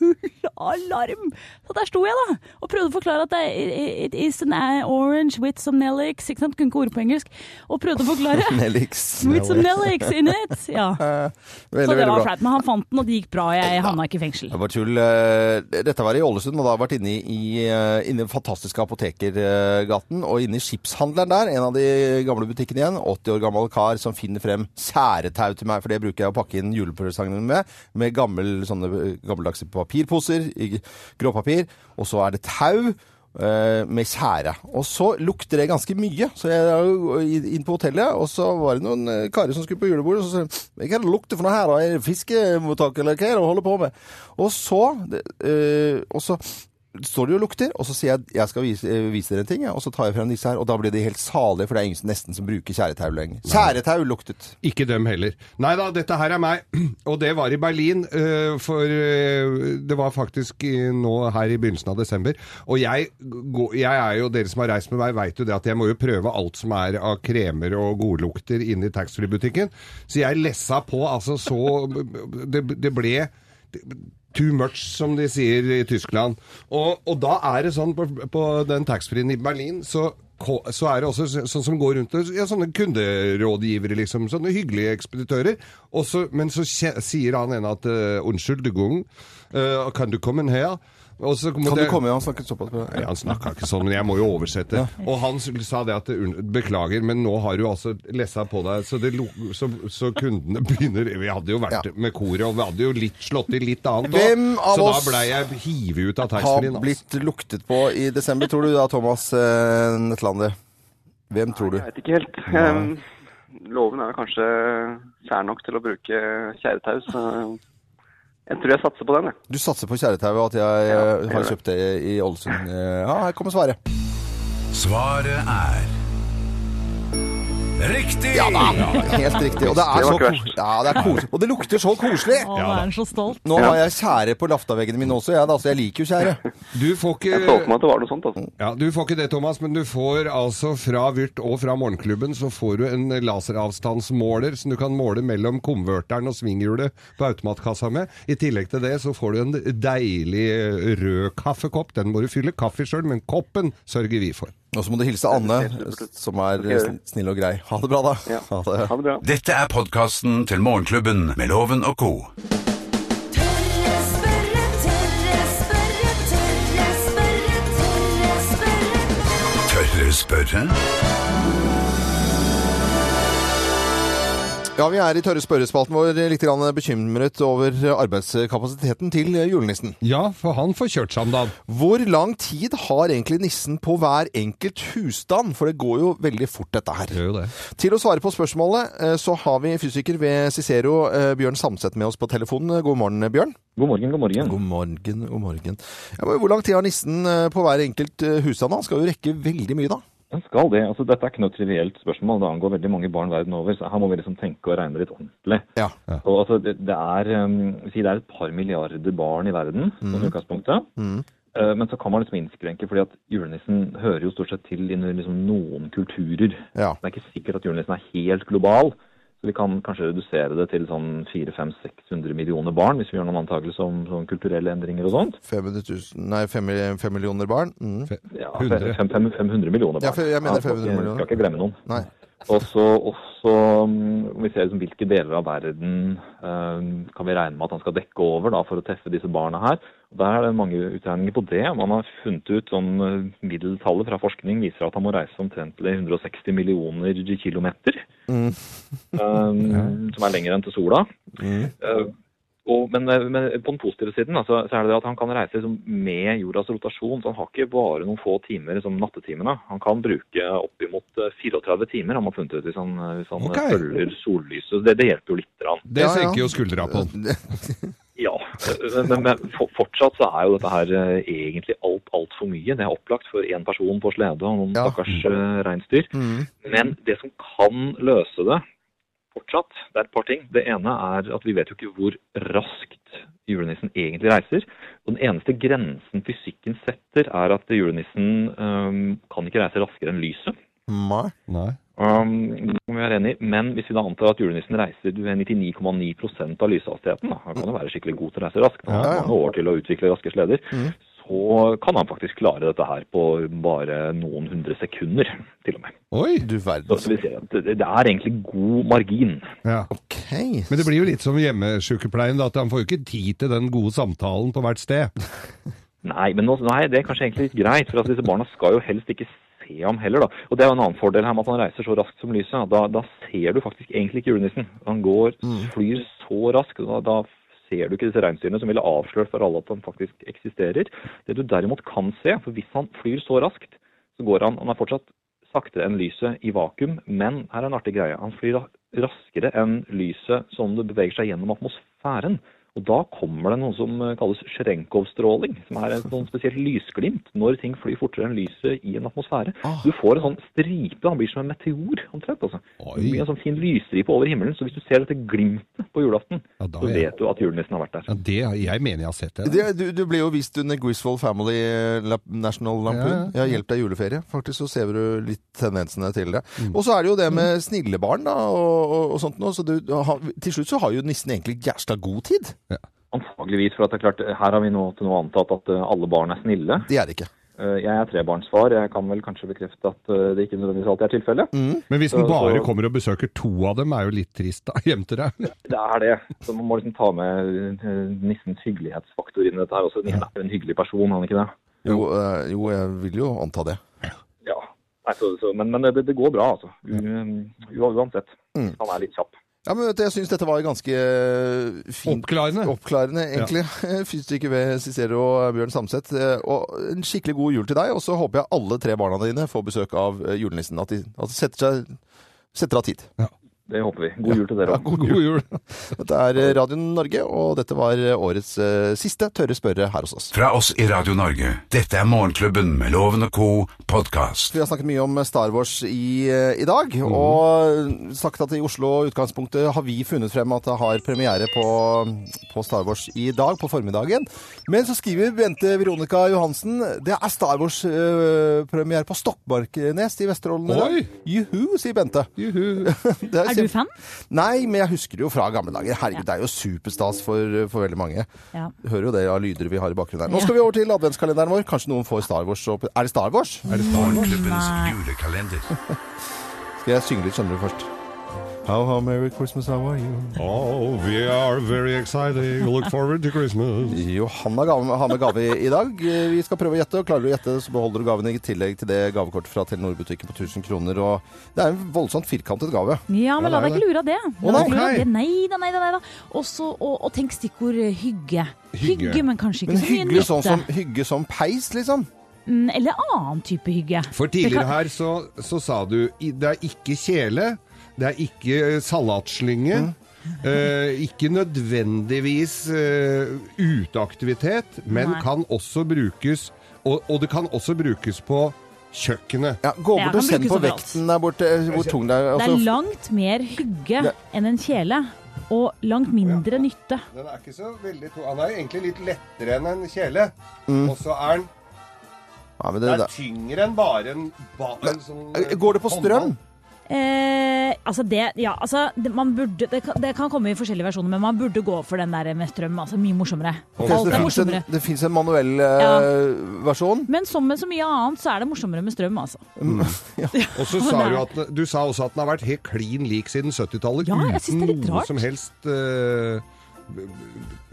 Speaker 3: full alarm. Så der sto jeg da, og prøvde å forklare at det, er- it is an orange with some nelliks. Ikke sant? Kunne ikke ordet på engelsk. Og prøvde å forklare.
Speaker 2: Nelliks.
Speaker 3: With some nelliks in it! Ja. Så
Speaker 2: Veldig,
Speaker 3: det
Speaker 2: veldig
Speaker 3: var
Speaker 2: bra.
Speaker 3: flaut. Men han fant den, og det gikk bra. Jeg havna ikke i fengsel.
Speaker 2: Det var tull. Eh, Dette var i Ålesund, og da har jeg vært inne i, i eh, inne i den fantastiske Apotekergaten. Og inne i Skipshandleren der, en av de gamle butikkene igjen. 80 år gammel kar som finner frem særetau til meg, for det bruker jeg å pakke inn julepresangene med. Med gammel, sånne eh, gammeldagse papirposer i gråpapir. Og så er det tau. eh, Med sære. Og så lukter det ganske mye. Så jeg er jo i- inn på hotellet, og så var det noen eh, karer som skulle på julebordet. Og så sa de Hva er det lukter for noe her? da? Er det fiskemottak, eller hva er det du holder på med? Og så, det, eh, og så står de og lukter, og så sier jeg jeg skal vise, eh, vise dere en ting, jeg, og så tar jeg frem disse her, og da blir de helt salige, for det er ingen som- nesten som bruker kjæretau lenger. Kjæretau luktet.
Speaker 4: Ikke dem heller. Nei da, dette her er meg. Og det var i Berlin, eh, for eh, det var faktisk eh, nå her i begynnelsen av desember. Og jeg, går- jeg er jo, dere som har reist med meg, veit jo det at jeg må jo prøve alt som er av kremer og godlukter inne i taxfree-butikken. Så jeg lessa på altså så Det, det ble Too much, som de sier i Tyskland. Og, og da er det sånn på, på den taxfree-en i Berlin, så, ko- så er det også så- sånn som går rundt og ja, sånne kunderådgivere, liksom. Sånne hyggelige ekspeditører. Og så, men så kje, sier han ene at eh, 'Unnskyld, du gung, eh, kan du komme her?' Og så
Speaker 2: Kan du komme igjen og snakke såpass på
Speaker 4: Nei, han snakka ikke sånn, men jeg må jo oversette. Og han s- sa det at "Un- beklager, men nå har du altså lessa på deg, så, det, lo- så, så kundene begynner Vi hadde jo vært
Speaker 2: Ja.
Speaker 4: med koret, og vi hadde jo litt slått i litt annet også.
Speaker 2: Hvem av
Speaker 4: så
Speaker 2: oss
Speaker 4: da blei jeg hivet ut av
Speaker 2: Har
Speaker 4: taxfree-en. Altså.
Speaker 2: blitt luktet på i desember, tror du da, Thomas eh, Netlandet? Hvem tror du?
Speaker 6: Jeg vet ikke helt. Ehm, loven er kanskje sær nok til å bruke kjæretau, så jeg tror jeg satser på den, jeg.
Speaker 2: Du satser på kjæretau og at jeg eh, har kjøpt det i Ålesund. Eh, Ja, her kommer svaret.
Speaker 1: Svaret er Riktig!
Speaker 2: Ja da, helt riktig. Og det er
Speaker 6: Det var
Speaker 2: så
Speaker 6: ikke
Speaker 2: koselig. Ja, det er koselig. Og det lukter så koselig!
Speaker 3: Å, nå er han så stolt.
Speaker 2: Nå har jeg tjære på laftaveggene mine også, jeg da, så jeg liker jo tjære.
Speaker 4: Du får
Speaker 6: Jeg så for
Speaker 4: ikke
Speaker 6: meg at det var noe sånt. altså.
Speaker 2: Mm.
Speaker 4: ja, du får ikke det, Thomas, men du får altså fra Vyrt og fra Morgenklubben så får du en laseravstandsmåler som du kan måle mellom konverteren og svinghjulet på automatkassa med. I tillegg til det så får du en deilig eh, rød kaffekopp. Den må du fylle kaffe sjøl, men koppen sørger vi for.
Speaker 2: Og så må du hilse Anne, som er eh, sn- snill og grei. Ha det bra, da.
Speaker 6: Ja.
Speaker 2: Ha det.
Speaker 6: Ha det bra.
Speaker 1: Dette er podkasten til Morgenklubben med Loven og co.
Speaker 7: Tørre spørre, tørre spørre, tørre spørre, tørre spørre.
Speaker 1: Tørre spørre?
Speaker 2: Ja, vi er i tørre spørrespalten vår eh, litt grann bekymret over eh, arbeidskapasiteten til eh, julenissen.
Speaker 4: Ja, for han får kjørt seg om dagen.
Speaker 2: Hvor lang tid har egentlig nissen på hver enkelt husstand? For det går jo veldig fort, dette her.
Speaker 4: Gjør jo det.
Speaker 2: Til å svare på spørsmålet eh, så har vi fysiker ved Cicero, eh, Bjørn Samset, med oss på telefonen. God morgen, Bjørn.
Speaker 8: God morgen, god morgen.
Speaker 2: God morgen, god morgen. Ja, men hvor lang tid har nissen eh, på hver enkelt eh, husstand? Han skal jo rekke veldig mye, da.
Speaker 8: Den skal det. Altså, dette er ikke noe trivielt spørsmål. Det angår veldig mange barn verden over. Så her må vi liksom tenke og regne litt ordentlig.
Speaker 2: Ja.
Speaker 8: Og altså, det, det, er, um, si det er et par milliarder barn i verden som utgangspunktet. Eh, Men så kan man liksom innskrenke, fordi at julenissen hører jo stort sett til i liksom noen kulturer.
Speaker 2: Ja.
Speaker 8: Det er ikke sikkert at julenissen er helt global. Så vi kan kanskje redusere det til sånn 400-600 millioner barn, hvis vi gjør noen antakelser om sånn kulturelle endringer og sånt.
Speaker 2: 500 000, nei, 5, millioner barn. Mm.
Speaker 8: Ja,
Speaker 4: 100.
Speaker 8: 5, 500 millioner barn.
Speaker 2: Ja, for jeg mener 500
Speaker 8: vi
Speaker 2: millioner.
Speaker 8: Skal ikke glemme noen.
Speaker 2: Nei.
Speaker 8: Og så også, mm, om vi ser liksom hvilke deler av verden eh, kan vi regne med at han skal dekke over da, for å treffe disse barna her. Og Der er det mange utregninger på det. Man har funnet ut sånn eh, middeltallet fra forskning viser at han må reise omtrentlig 160 millioner kilometer. eh, som er lenger enn til sola. Eh, og, men, eh, men på den positive siden da, så, så er det det at han kan reise liksom, med jordas rotasjon. så Han har ikke bare noen få timer som nattetimene. Han kan bruke oppimot eh, 34 timer, har man funnet ut, hvis han, hvis han eh,
Speaker 4: Ok.
Speaker 8: følger sollyset. Så Det, det hjelper jo lite grann.
Speaker 4: Det
Speaker 2: Ja, ja.
Speaker 4: senker jo skuldra på han.
Speaker 8: Ja, men, men, men for- fortsatt så er jo dette her eh, egentlig alt, altfor mye. Det er opplagt for én person på slede og noen
Speaker 2: Ja.
Speaker 8: stakkars eh, reinsdyr.
Speaker 2: Mm.
Speaker 8: Men det som kan løse det fortsatt, det er et par ting. Det ene er at vi vet jo ikke hvor raskt julenissen egentlig reiser. Og den eneste grensen fysikken setter, er at julenissen øhm, kan ikke reise raskere enn lyset.
Speaker 2: Nei.
Speaker 4: Nei.
Speaker 8: Øhm, Um, det må vi være enig i. Men hvis vi da antar at julenissen reiser ved 99,9 av lyshastigheten, da, han kan jo være skikkelig god til å reise raskt, han har
Speaker 2: Ja, ja. Mm.
Speaker 8: mange år til å utvikle raske sleder, så kan han faktisk klare dette her på bare noen hundre sekunder, til og med.
Speaker 4: Oi!
Speaker 2: Du
Speaker 8: Så
Speaker 2: verden.
Speaker 8: skal vi si at det, det er egentlig god margin.
Speaker 4: Ja.
Speaker 2: Ok.
Speaker 4: Men det blir jo litt som hjemmesykepleien, da, at han får jo ikke tid til den gode samtalen på hvert sted.
Speaker 8: Nei, men nå, nei, det er kanskje egentlig litt greit, for altså, disse barna skal jo helst ikke se ham heller. da. Og Det er jo en annen fordel her med at han reiser så raskt som lyset. Da, da ser du faktisk egentlig ikke julenissen. Han går, flyr så raskt. og Da, da ser du ikke disse reinsdyrene som ville avslørt for alle at han faktisk eksisterer. Det du derimot kan se, for hvis han flyr så raskt, så går han Han er fortsatt saktere enn lyset i vakuum, men her er en artig greie. Han flyr ra- raskere enn lyset som det beveger seg gjennom atmosfæren. Og da kommer det noe som eh, kalles Scherenkov-stråling, som er en sånn spesielt lysglimt når ting flyr fortere enn lyset i en atmosfære.
Speaker 2: Ah.
Speaker 8: Du får en sånn stripe, han blir som en meteor omtrent. altså.
Speaker 4: Oi.
Speaker 8: Det blir en sånn fin lysstripe over himmelen, så hvis du ser dette glimtet på julaften,
Speaker 4: Ja, da
Speaker 8: så
Speaker 4: er-
Speaker 8: vet du at julenissen har vært der.
Speaker 4: Ja, det, jeg mener jeg har sett det. da.
Speaker 2: Det, du, du ble jo vist under Griswold Family eh, Lap- National Lampoon. Ja, Hjelp deg juleferie. Faktisk så ser du litt tendensene til det. Og så er det jo det med snille barn da, og, og, og sånt noe. Så du, han- til slutt så har jo nissen egentlig jævla god tid.
Speaker 8: Antageligvis, for at det er klart, her har vi nå til nå antatt at eh, alle barn er snille.
Speaker 2: Det er det ikke.
Speaker 8: Eh, Jeg er trebarnsfar. Jeg kan vel kanskje bekrefte at eh, det ikke nødvendigvis alltid er tilfellet.
Speaker 2: Mm.
Speaker 4: Men hvis den
Speaker 8: Så-
Speaker 4: bare
Speaker 8: så-
Speaker 4: kommer og besøker to av dem, er jo litt trist da, hjem til deg.
Speaker 8: Det er det. Så man må liksom ta med eh, nissens hyggelighetsfaktor inn i dette her også. Nissen er jo en hyggelig person, er han ikke det?
Speaker 2: Jo, eh, jo, jeg vil jo anta det.
Speaker 8: Ja. Nei, så, så, men men det, det går bra, altså. U, u- uansett.
Speaker 2: Mm.
Speaker 8: Han er litt kjapp.
Speaker 2: Ja, men vet du, Jeg syns dette var ganske eh, fint
Speaker 4: Oppklarende.
Speaker 2: Oppklarende, egentlig. Fysiker ved Cicero og Bjørn Samset. Eh, Og en skikkelig god jul til deg. Og så håper jeg alle tre barna dine får besøk av eh, julenissen. At de, at de setter, seg, setter av tid.
Speaker 8: Det håper vi. God jul til dere òg.
Speaker 2: God jul.
Speaker 4: God jul.
Speaker 2: Dette er eh, Radio Norge, og dette var eh, årets eh, siste tørre spørre her hos oss.
Speaker 1: Fra oss i Radio Norge. Dette er Morgenklubben med Loven og Co. podkast.
Speaker 2: Vi har snakket mye om Star Wars i, eh, i dag,
Speaker 4: Mhm.
Speaker 2: og sagt at i Oslo utgangspunktet har vi funnet frem at det har premiere på, på Star Wars i dag, på formiddagen. Men så skriver Bente Veronica Johansen det er Star Wars-premiere på Stokmarknes i Vesterålen. i dag.
Speaker 4: Oi!
Speaker 2: Juhu, sier Bente.
Speaker 4: Juhu.
Speaker 2: Det er
Speaker 3: Er
Speaker 2: kjempe-
Speaker 3: du fan?
Speaker 2: Nei, men jeg husker det jo fra gamle dager. Herregud,
Speaker 3: Ja.
Speaker 2: det er jo superstas for, for veldig mange.
Speaker 3: Ja.
Speaker 2: Hører jo det av lyder vi har i bakgrunnen her. Nå skal vi over til adventskalenderen vår. Kanskje noen får Star Wars. opp- Er det Star Wars?
Speaker 1: Morgenklubbens julekalender.
Speaker 2: Skal jeg synge litt, skjønner du først. How, how, merry Christmas, how are you?
Speaker 4: Oh, we are very excited. Look forward to Christmas.
Speaker 2: Johanna ga- har med gave i- i dag. Eh, Vi skal prøve å gjette, og klarer du å gjette, så beholder du gaven i tillegg til det gavekortet fra Telenor-butikken på 1000 kroner. Og det er en voldsomt firkantet gave.
Speaker 3: Ja, men la
Speaker 4: det er
Speaker 3: deg ikke lure av det.
Speaker 2: Å,
Speaker 3: La deg
Speaker 2: nei.
Speaker 3: ikke lure av det. Nei da, nei da. Nei, da. Også, og, og tenk stikkord eh, hygge.
Speaker 4: Hygge.
Speaker 3: Hygge, men kanskje ikke
Speaker 2: Men
Speaker 3: så mye
Speaker 2: hyggelig
Speaker 3: nytte.
Speaker 2: sånn som, hygge som peis, liksom.
Speaker 3: Mm, Eller annen type hygge.
Speaker 4: For tidligere her så, så sa du i- det er ikke kjele, det er ikke salatslynge. eh, ikke nødvendigvis eh, uteaktivitet, men
Speaker 3: Nei.
Speaker 4: kan også brukes og, og det kan også brukes på kjøkkenet.
Speaker 2: Ja, gå
Speaker 3: Ja,
Speaker 2: bort og
Speaker 3: kan
Speaker 2: kjenn
Speaker 3: brukes
Speaker 2: på
Speaker 3: overalt.
Speaker 2: vekten der borte, eh, hvor tung det er.
Speaker 3: Det
Speaker 2: Altså,
Speaker 3: er langt mer hygge
Speaker 2: Ja.
Speaker 3: enn en kjele, og langt mindre nytte.
Speaker 4: Den er ikke så veldig tung. Han er egentlig litt lettere enn en kjele. Og så er den
Speaker 2: ja, men det, det.
Speaker 4: tyngre enn bare en, sånn,
Speaker 2: Eh, Går det på strøm?
Speaker 3: Eh, altså det, ja, altså det, man burde, det, kan, det kan komme i forskjellige versjoner, men man burde gå for den der med strøm. altså Mye morsommere.
Speaker 2: Ok, så
Speaker 3: Alt
Speaker 2: det
Speaker 3: er
Speaker 2: finnes en,
Speaker 3: morsommere.
Speaker 2: det finnes en manuell eh, versjon.
Speaker 3: Men som med så mye annet, så er det morsommere med strøm, altså.
Speaker 4: Og så sa du at den- du sa også at den har vært helt klin lik siden 70-tallet.
Speaker 3: Ja, jeg synes det er litt
Speaker 4: uten
Speaker 3: rart.
Speaker 4: Noe som helst eh,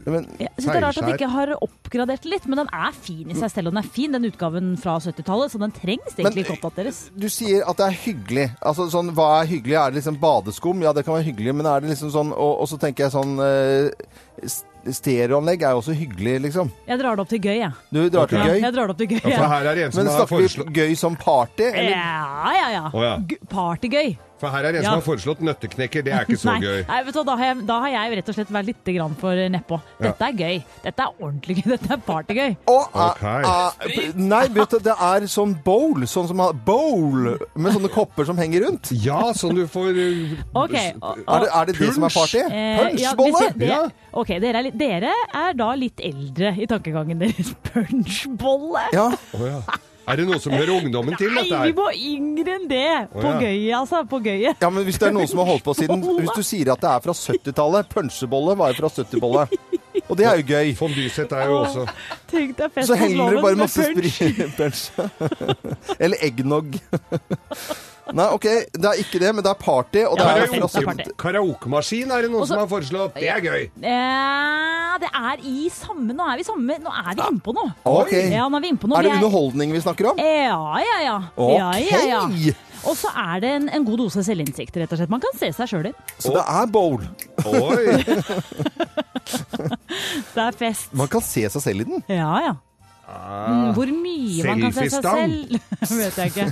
Speaker 2: Men,
Speaker 3: Jeg synes det er rart at de
Speaker 4: Feilskjær.
Speaker 3: ikke har oppgradert det litt, men den er fin i
Speaker 4: Mm.
Speaker 3: seg selv. Og den er fin, den utgaven fra 70-tallet, så den trengs egentlig
Speaker 2: Men-
Speaker 3: ikke oppdateres.
Speaker 2: du sier at det er hyggelig. Altså sånn, Hva er hyggelig? Er det liksom badeskum? Ja, det kan være hyggelig, men er det liksom sånn Og, og så tenker jeg sånn eh, s- Stereoanlegg er jo også hyggelig, liksom.
Speaker 3: Jeg drar det opp til gøy, jeg.
Speaker 2: Du drar
Speaker 3: Ja,
Speaker 2: til gøy.
Speaker 3: jeg drar det opp til gøy,
Speaker 4: For
Speaker 3: jeg.
Speaker 4: her er det en som
Speaker 2: Men
Speaker 4: har
Speaker 2: snakker vi
Speaker 4: foreslått,
Speaker 2: gøy som party? Eller?
Speaker 3: Ja, ja, ja.
Speaker 4: Å, ja.
Speaker 3: G- Partygøy.
Speaker 4: for her er det en
Speaker 3: Ja.
Speaker 4: som har foreslått nøtteknekker. Det er ikke så
Speaker 3: nei,
Speaker 4: gøy.
Speaker 3: Nei, vet du, hva, da, har jeg, da har jeg rett og slett vært litt grann for nedpå. Dette er gøy. Dette er ordentlig gøy. Dette er partygøy.
Speaker 2: Og,
Speaker 4: Ok.
Speaker 2: eh, eh, nei, vet du, det er sånn bowl. Sånn som har- bowl med sånne kopper som henger rundt.
Speaker 4: Ja, sånn du får eh,
Speaker 3: Ok,
Speaker 4: s-
Speaker 3: og-
Speaker 2: Er det er det, det som er party?
Speaker 3: Eh, ja,
Speaker 2: Punchbolle!
Speaker 3: hvis jeg- det-
Speaker 4: Ja.
Speaker 3: Ok, dere er, litt, dere er da litt eldre i tankegangen deres. Punchbolle!
Speaker 2: Ja.
Speaker 4: Å, ja. Er det noe som hører ungdommen til,
Speaker 3: Nei,
Speaker 4: dette
Speaker 3: vi
Speaker 4: her?
Speaker 3: må yngre enn det! På
Speaker 4: Å, ja.
Speaker 3: gøyet, altså. På gøyet.
Speaker 2: Ja, men hvis det er noen som har holdt på siden Hvis du sier at det er fra 70-tallet Pønsjebolle var jo fra 70-tallet. Og det er jo gøy.
Speaker 4: Fondyset er jo også
Speaker 3: Tenk deg fest
Speaker 2: Så
Speaker 3: hos
Speaker 2: heller du
Speaker 3: loven
Speaker 2: bare
Speaker 3: med
Speaker 2: masse
Speaker 3: punch.
Speaker 2: sprit punch. Eller eggnog. Nei, OK, det er ikke det, men det er party, og det
Speaker 3: Ja,
Speaker 2: er
Speaker 3: det
Speaker 2: fra
Speaker 3: er fint, det er
Speaker 2: 70
Speaker 3: party.
Speaker 4: Karaokemaskin er det noen
Speaker 3: Og så-
Speaker 4: som har foreslått. Det er gøy.
Speaker 3: Eh, det er i samme Nå er vi samme Nå er vi innpå noe.
Speaker 2: Ah, Ok.
Speaker 3: Ja, nå er vi innpå noe.
Speaker 2: Er det
Speaker 3: Vi
Speaker 2: underholdning vi snakker om?
Speaker 3: Ja, ja, ja. ja, ja, ja.
Speaker 2: OK!
Speaker 3: Og så er det en, en god dose selvinnsikt, rett og slett. Man kan se seg sjøl i.
Speaker 2: Så det er bowl.
Speaker 4: Oi.
Speaker 3: Det er fest.
Speaker 2: Man kan se seg selv i den.
Speaker 3: Ja, ja.
Speaker 9: Ah.
Speaker 3: Mm, Hvor mye man kan se seg
Speaker 4: Selfiestang.
Speaker 3: selv, vet jeg ikke.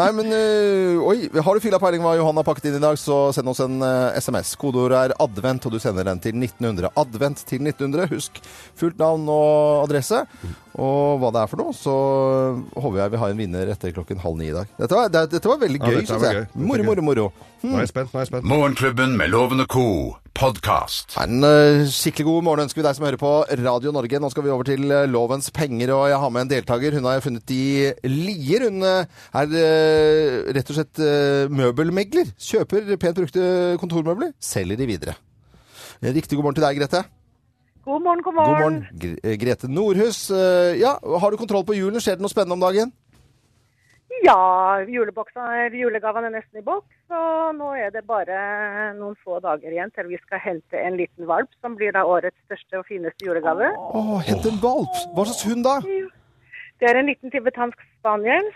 Speaker 2: Nei, men øh, oi, har du filla peiling hva Johan har pakket inn i dag, så send oss en øh, SMS. Kodeordet er 'advent', og du sender den til 1900. Advent til 1900. Husk fullt navn og adresse, og hva det er for noe. Så eh, håper jeg vi har en vinner etter klokken halv ni i dag. Dette var, det, dette var veldig
Speaker 4: Ja,
Speaker 2: gøy,
Speaker 4: dette
Speaker 2: syns
Speaker 4: var
Speaker 2: jeg.
Speaker 4: gøy. Dette er
Speaker 2: Moro,
Speaker 4: gøy.
Speaker 2: moro, moro.
Speaker 4: Nå er jeg spent. Nå er jeg spent.
Speaker 1: Morgenklubben med Loven og Co. podkast.
Speaker 2: En øh, skikkelig god morgen ønsker vi deg som hører på Radio Norge. Nå skal vi over til øh, Lovens penger, og jeg har med en deltaker. Hun har jeg funnet i Lier. Hun øh, er øh, rett og slett øh, møbelmegler. Kjøper pent brukte kontormøbler, selger de videre. Eh, Riktig god morgen til deg, Grete.
Speaker 9: God morgen, god
Speaker 2: God
Speaker 9: morgen.
Speaker 2: morgen, Gre- eh, Grete Nordhus. Eh, Ja, har du kontroll på julen? Skjer det noe spennende om dagen?
Speaker 9: Ja, juleboksa- julegavene er nesten i boks, og nå er det bare noen få dager igjen til vi skal hente en liten valp, som blir da årets største og fineste julegave.
Speaker 2: Å, hent en valp! Hva slags hund da?
Speaker 9: Det er en liten tibetansk spaniel.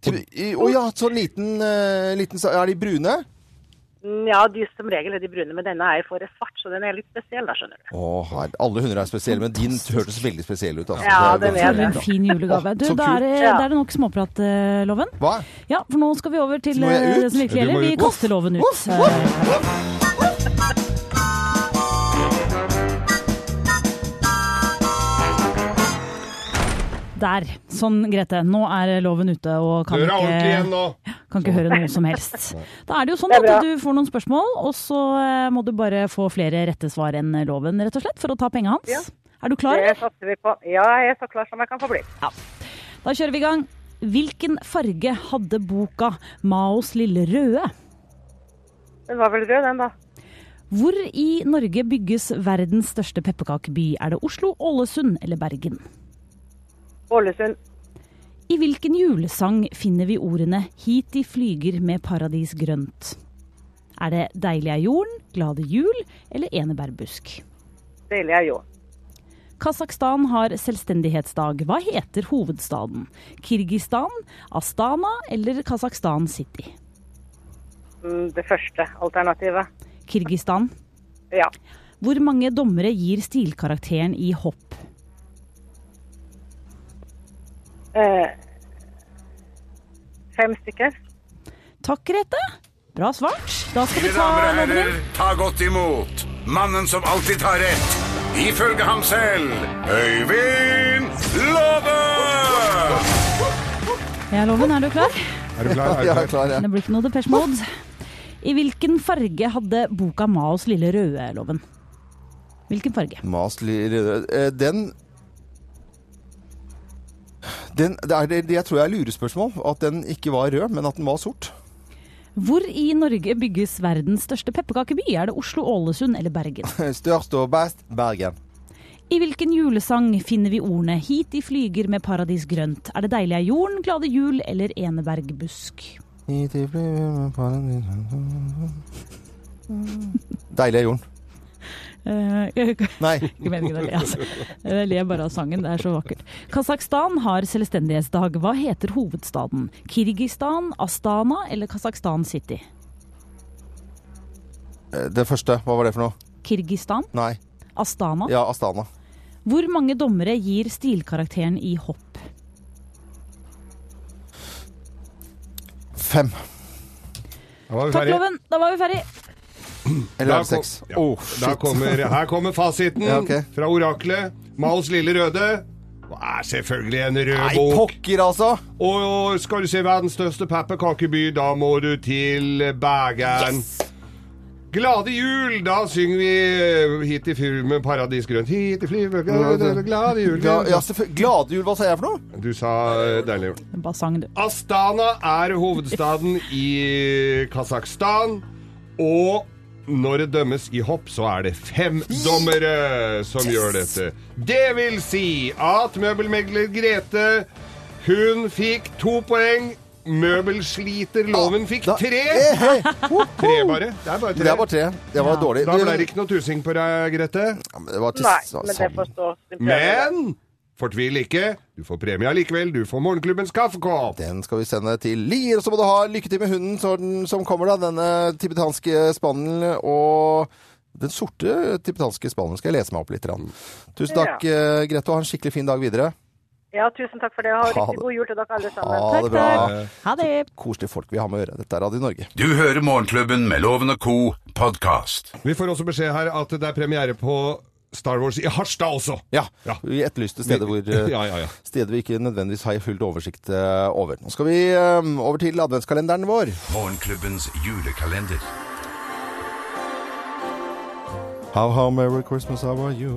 Speaker 2: Til- i- Å ja, så liten, eh, liten sa- Er de brune?
Speaker 9: Ja, de som regel er de brune, men denne er jo for svart, så den er litt spesiell, da, skjønner du.
Speaker 2: Å, her, alle hunder er spesielle, men din hørtes veldig spesiell ut. Altså.
Speaker 9: Ja,
Speaker 2: Det er
Speaker 9: den er
Speaker 2: veldig
Speaker 3: For
Speaker 9: det.
Speaker 3: en
Speaker 2: bra.
Speaker 3: fin julegave. Du,
Speaker 2: Å, så
Speaker 3: da er det,
Speaker 9: kult. Ja.
Speaker 3: da er det nok småprat, eh, Loven.
Speaker 2: Hva?
Speaker 3: Ja, for nå skal vi over
Speaker 2: Så
Speaker 3: til
Speaker 2: må jeg
Speaker 3: eh,
Speaker 2: ut?
Speaker 3: det som virkelig
Speaker 4: Ja, du må
Speaker 3: gjelder. Vi
Speaker 4: ut.
Speaker 3: kaster Loven ut.
Speaker 2: Voff, voff,
Speaker 3: Eh,
Speaker 2: voff.
Speaker 3: Der. Sånn, Grete. Nå er Loven ute og kan
Speaker 4: Døra ordentlig igjen
Speaker 3: ikke,
Speaker 4: nå!
Speaker 3: kan ikke høre noe som helst. Da er det jo sånn
Speaker 9: Det er bra.
Speaker 3: at du får noen spørsmål, og så eh, må du bare få flere rette svar enn Loven, rett og slett, for å ta penga hans.
Speaker 9: Ja.
Speaker 3: Er du klar?
Speaker 9: Det
Speaker 3: eller?
Speaker 9: satser vi på. Ja, jeg er så klar som jeg kan få bli.
Speaker 3: Da kjører vi i gang. Hvilken farge hadde boka 'Maos lille røde'?
Speaker 9: Den var vel rød, den, da.
Speaker 3: Hvor i Norge bygges verdens største pepperkakeby? Er det Oslo, Ålesund eller Bergen?
Speaker 9: Ålesund.
Speaker 3: I hvilken julesang finner vi ordene 'Hit de flyger med paradis grønt'? Er det 'Deilig er jorden', 'Glade jul' eller 'Enebærbusk'?
Speaker 9: Deilig er jo.
Speaker 3: Kasakhstan har selvstendighetsdag. Hva heter hovedstaden? Kirgistan, Astana eller Kasakhstan City?
Speaker 9: Mm, Det første alternativet.
Speaker 3: Kirgistan.
Speaker 9: Ja.
Speaker 3: Hvor mange dommere gir stilkarakteren i hopp?
Speaker 9: Eh, fem stykker.
Speaker 3: Takk, Grete. Bra svart. Da skal vi
Speaker 1: Mine damer og
Speaker 3: ta Loven
Speaker 1: herrer,
Speaker 3: inn.
Speaker 1: ta godt imot mannen som alltid tar rett, ifølge ham selv, Øyvind Låve!
Speaker 3: Ja, Loven, er du klar?
Speaker 4: Er du klar?
Speaker 2: Ja,
Speaker 4: Er du klar?
Speaker 2: klar, ja.
Speaker 3: Det blir ikke noe Depeche Mode. I hvilken farge hadde boka Maos lille røde, Loven? Hvilken farge?
Speaker 2: Mas Lirø- eh, Den den, det er, det- jeg tror jeg er lurespørsmål. At den ikke var rød, men at den var sort.
Speaker 3: Hvor i Norge bygges verdens største pepperkakeby? Er det Oslo, Ålesund eller Bergen?
Speaker 2: Størst og best Bergen.
Speaker 3: I hvilken julesang finner vi ordene 'Hit de flyger med paradis grønt'? Er det 'Deilig er jorden', 'Glade jul' eller 'Enebergbusk'?
Speaker 2: Deilig er jorden.
Speaker 3: Eh, jeg
Speaker 2: Nei.
Speaker 3: mener ikke det, altså. Jeg ler bare av sangen, det er så vakkert. Kasakhstan har selvstendighetsdag. Hva heter hovedstaden? Kirgistan, Astana eller Kasakhstan City?
Speaker 2: Eh, Det første, hva var det for noe?
Speaker 3: Kirgistan?
Speaker 2: Nei.
Speaker 3: Astana.
Speaker 2: Ja, Astana.
Speaker 3: Hvor mange dommere gir stilkarakteren i hopp?
Speaker 2: Fem.
Speaker 4: Da var vi
Speaker 3: Takk,
Speaker 4: ferdige.
Speaker 3: Loven. Da var vi ferdig.
Speaker 2: Eller er
Speaker 4: Da
Speaker 2: det seks?
Speaker 4: kom- ja. Da kommer, her kommer fasiten
Speaker 2: Ja, ok.
Speaker 4: fra oraklet. Maos lille røde. Og er selvfølgelig en rød
Speaker 2: Nei,
Speaker 4: bok.
Speaker 2: pokker, altså!
Speaker 4: Og skal du se verdens største pepperkakeby, da må du til Bergen. Glade jul! Da synger vi eh, hit i fyr med paradis grønt. Hit i flyveren, glade jul.
Speaker 2: Gla, ja, selvfø- glade jul, hva sa jeg for noe?
Speaker 4: Du sa eh, deilig jul.
Speaker 3: Bare sang, du.
Speaker 4: Astana er hovedstaden i Kasakhstan, og når det dømmes i hopp, så er det fem dommere som gjør dette. Det vil si at møbelmegler Grete, hun fikk to poeng. Møbelsliter Loven fikk
Speaker 2: Da-
Speaker 4: tre.
Speaker 2: Eh, hei.
Speaker 4: Tre bare. Det er bare
Speaker 2: Det er
Speaker 4: tre.
Speaker 2: bare tre. Det var dårlig.
Speaker 4: Da ble det ikke noe tusing på deg, Grete.
Speaker 2: Ja, men det var til
Speaker 9: Nei,
Speaker 2: sa-
Speaker 9: men det
Speaker 2: sammen.
Speaker 9: får stå sin prøve.
Speaker 4: Men fortvil ikke. Du får premie allikevel. Du får morgenklubbens kaffekopp.
Speaker 2: Den skal vi sende til Lier. Og så må du ha lykke til med hunden så den, som kommer, da. Denne tibetanske spandelen og den sorte tibetanske spandelen. Skal jeg lese meg opp litt. grann. Tusen takk, eh, Grete, og ha en skikkelig fin dag videre.
Speaker 9: Mm. Ja, tusen takk for det. Ha
Speaker 2: Ha
Speaker 9: riktig
Speaker 2: det.
Speaker 9: god jul til dere alle sammen.
Speaker 2: Ha det bra.
Speaker 3: Ha det.
Speaker 2: Koselige folk vi har med å gjøre. Dette er Radio Norge.
Speaker 1: Du hører Morgenklubben med Loven og Co. podkast.
Speaker 4: Vi får også beskjed her at det er premiere på Star Wars i Harstad også.
Speaker 2: Ja.
Speaker 4: Ja.
Speaker 2: Vi etterlyste steder hvor eh,
Speaker 4: Ja, ja, ja.
Speaker 2: Steder vi ikke nødvendigvis har fullt oversikt eh, over. Nå skal vi eh, over til adventskalenderen vår.
Speaker 1: Morgenklubbens julekalender.
Speaker 2: How, how merry Christmas, how are you?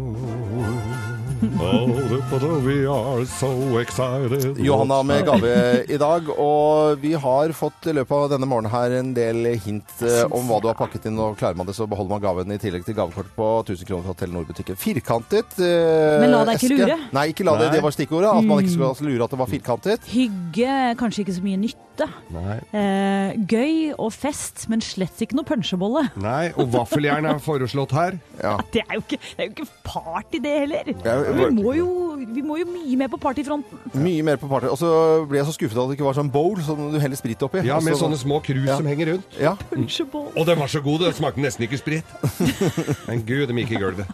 Speaker 4: we are so excited.
Speaker 2: Johanna med gave i dag, og vi har fått i løpet av denne morgenen her en del hint eh, om hva du har pakket inn, og klarer man det, så beholder man gaven i tillegg til gavekort på 1000 kroner fra Telenor-butikken. Firkantet eh,
Speaker 3: Men la deg ikke
Speaker 2: eske.
Speaker 3: lure. Mm.
Speaker 2: Nei, ikke la det.
Speaker 4: Nei.
Speaker 2: Det var stikkordet. At man ikke skulle lure at det var firkantet.
Speaker 3: Hygge, kanskje ikke så mye nytte.
Speaker 4: Nei.
Speaker 3: Eh, gøy og fest, men slett ikke noe punsjebolle.
Speaker 4: Nei, og vaffeljern er foreslått her.
Speaker 3: Det er jo ikke, det er jo ikke party, det heller.
Speaker 2: Jeg
Speaker 3: Vi må jo, vi må jo mye mer på partyfronten.
Speaker 2: Mye mer på party. Og så ble jeg så skuffet at det ikke var sånn bowl som du heller sprit oppi.
Speaker 4: Ja, med
Speaker 2: Altså-
Speaker 4: sånne små krus
Speaker 2: Ja.
Speaker 4: som henger rundt.
Speaker 2: Ja.
Speaker 3: Punchable.
Speaker 4: Og den var så god, den smakte nesten ikke sprit. Men gud, den gikk i gulvet.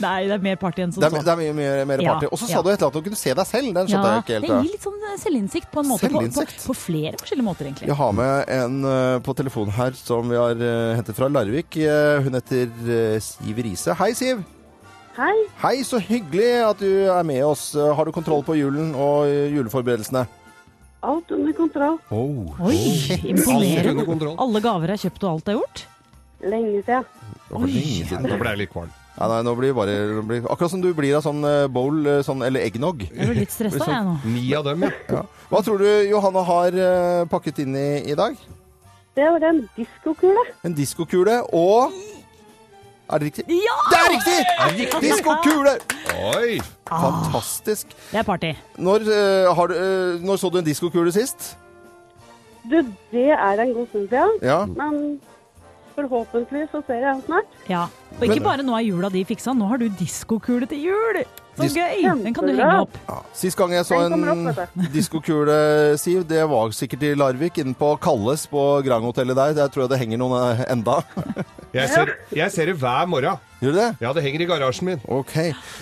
Speaker 3: Nei, det er mer party enn som
Speaker 2: Det er,
Speaker 3: så.
Speaker 2: det er mye mer, mer
Speaker 3: Ja,
Speaker 2: party. Og så sa
Speaker 3: ja.
Speaker 2: du et eller annet om å kunne se deg selv. Den skjønte jeg ikke
Speaker 3: det
Speaker 2: helt.
Speaker 3: gir
Speaker 2: Ja.
Speaker 3: litt sånn selvinnsikt på en måte. På, på,
Speaker 2: Selvinnsikt?
Speaker 3: på flere forskjellige måter, egentlig.
Speaker 2: Jeg har med en eh, på telefonen her som vi har eh, hentet fra Larvik. Eh, hun heter eh, Siv Riise. Hei, Siv.
Speaker 9: Hei.
Speaker 2: Hei, så hyggelig at du er med oss. Eh, Har du kontroll på julen og eh, juleforberedelsene?
Speaker 9: Alt under kontroll.
Speaker 3: Oi,
Speaker 4: Alt
Speaker 3: imponerende.
Speaker 4: under kontroll.
Speaker 3: Alle gaver er kjøpt og alt er gjort.
Speaker 9: Lenge siden.
Speaker 2: Oi, nei,
Speaker 4: Nå ble jeg litt kvalm.
Speaker 2: nei, nå blir det bare nå blir, Akkurat som du blir av sånn eh, bowl eh, sånn, eller eggnog.
Speaker 3: Jeg ble litt
Speaker 2: sånn
Speaker 3: stressa, jeg nå.
Speaker 4: Ni av dem, ja.
Speaker 2: Hva tror du Johanna har eh, pakket inn i i dag?
Speaker 9: Det var den diskokula.
Speaker 2: En diskokule og Er det riktig?
Speaker 3: Ja!
Speaker 2: Det er riktig! Diskokule!
Speaker 4: Oi!
Speaker 2: Fantastisk.
Speaker 3: Det er party.
Speaker 2: Når, eh, har, du, eh, når så du en diskokule sist?
Speaker 9: Du, det er en god stund siden.
Speaker 2: Ja.
Speaker 9: Men forhåpentlig så ser jeg den snart.
Speaker 3: Ja. Og ikke bare nå er jula di fiksa, nå har du diskokule til jul! Så
Speaker 2: Dis-
Speaker 3: gøy! Den kan du henge opp.
Speaker 2: Sist gang jeg så
Speaker 9: Den kommer
Speaker 2: en
Speaker 9: opp, vet
Speaker 2: diskokule, Siv, det var sikkert i Larvik, inne på Kalles på Grand-hotellet der. Der tror jeg det henger noen eh, enda.
Speaker 4: Jeg ser, jeg ser det hver morgen.
Speaker 2: Gjør du det?
Speaker 4: Ja, det henger i garasjen min.
Speaker 2: Ok.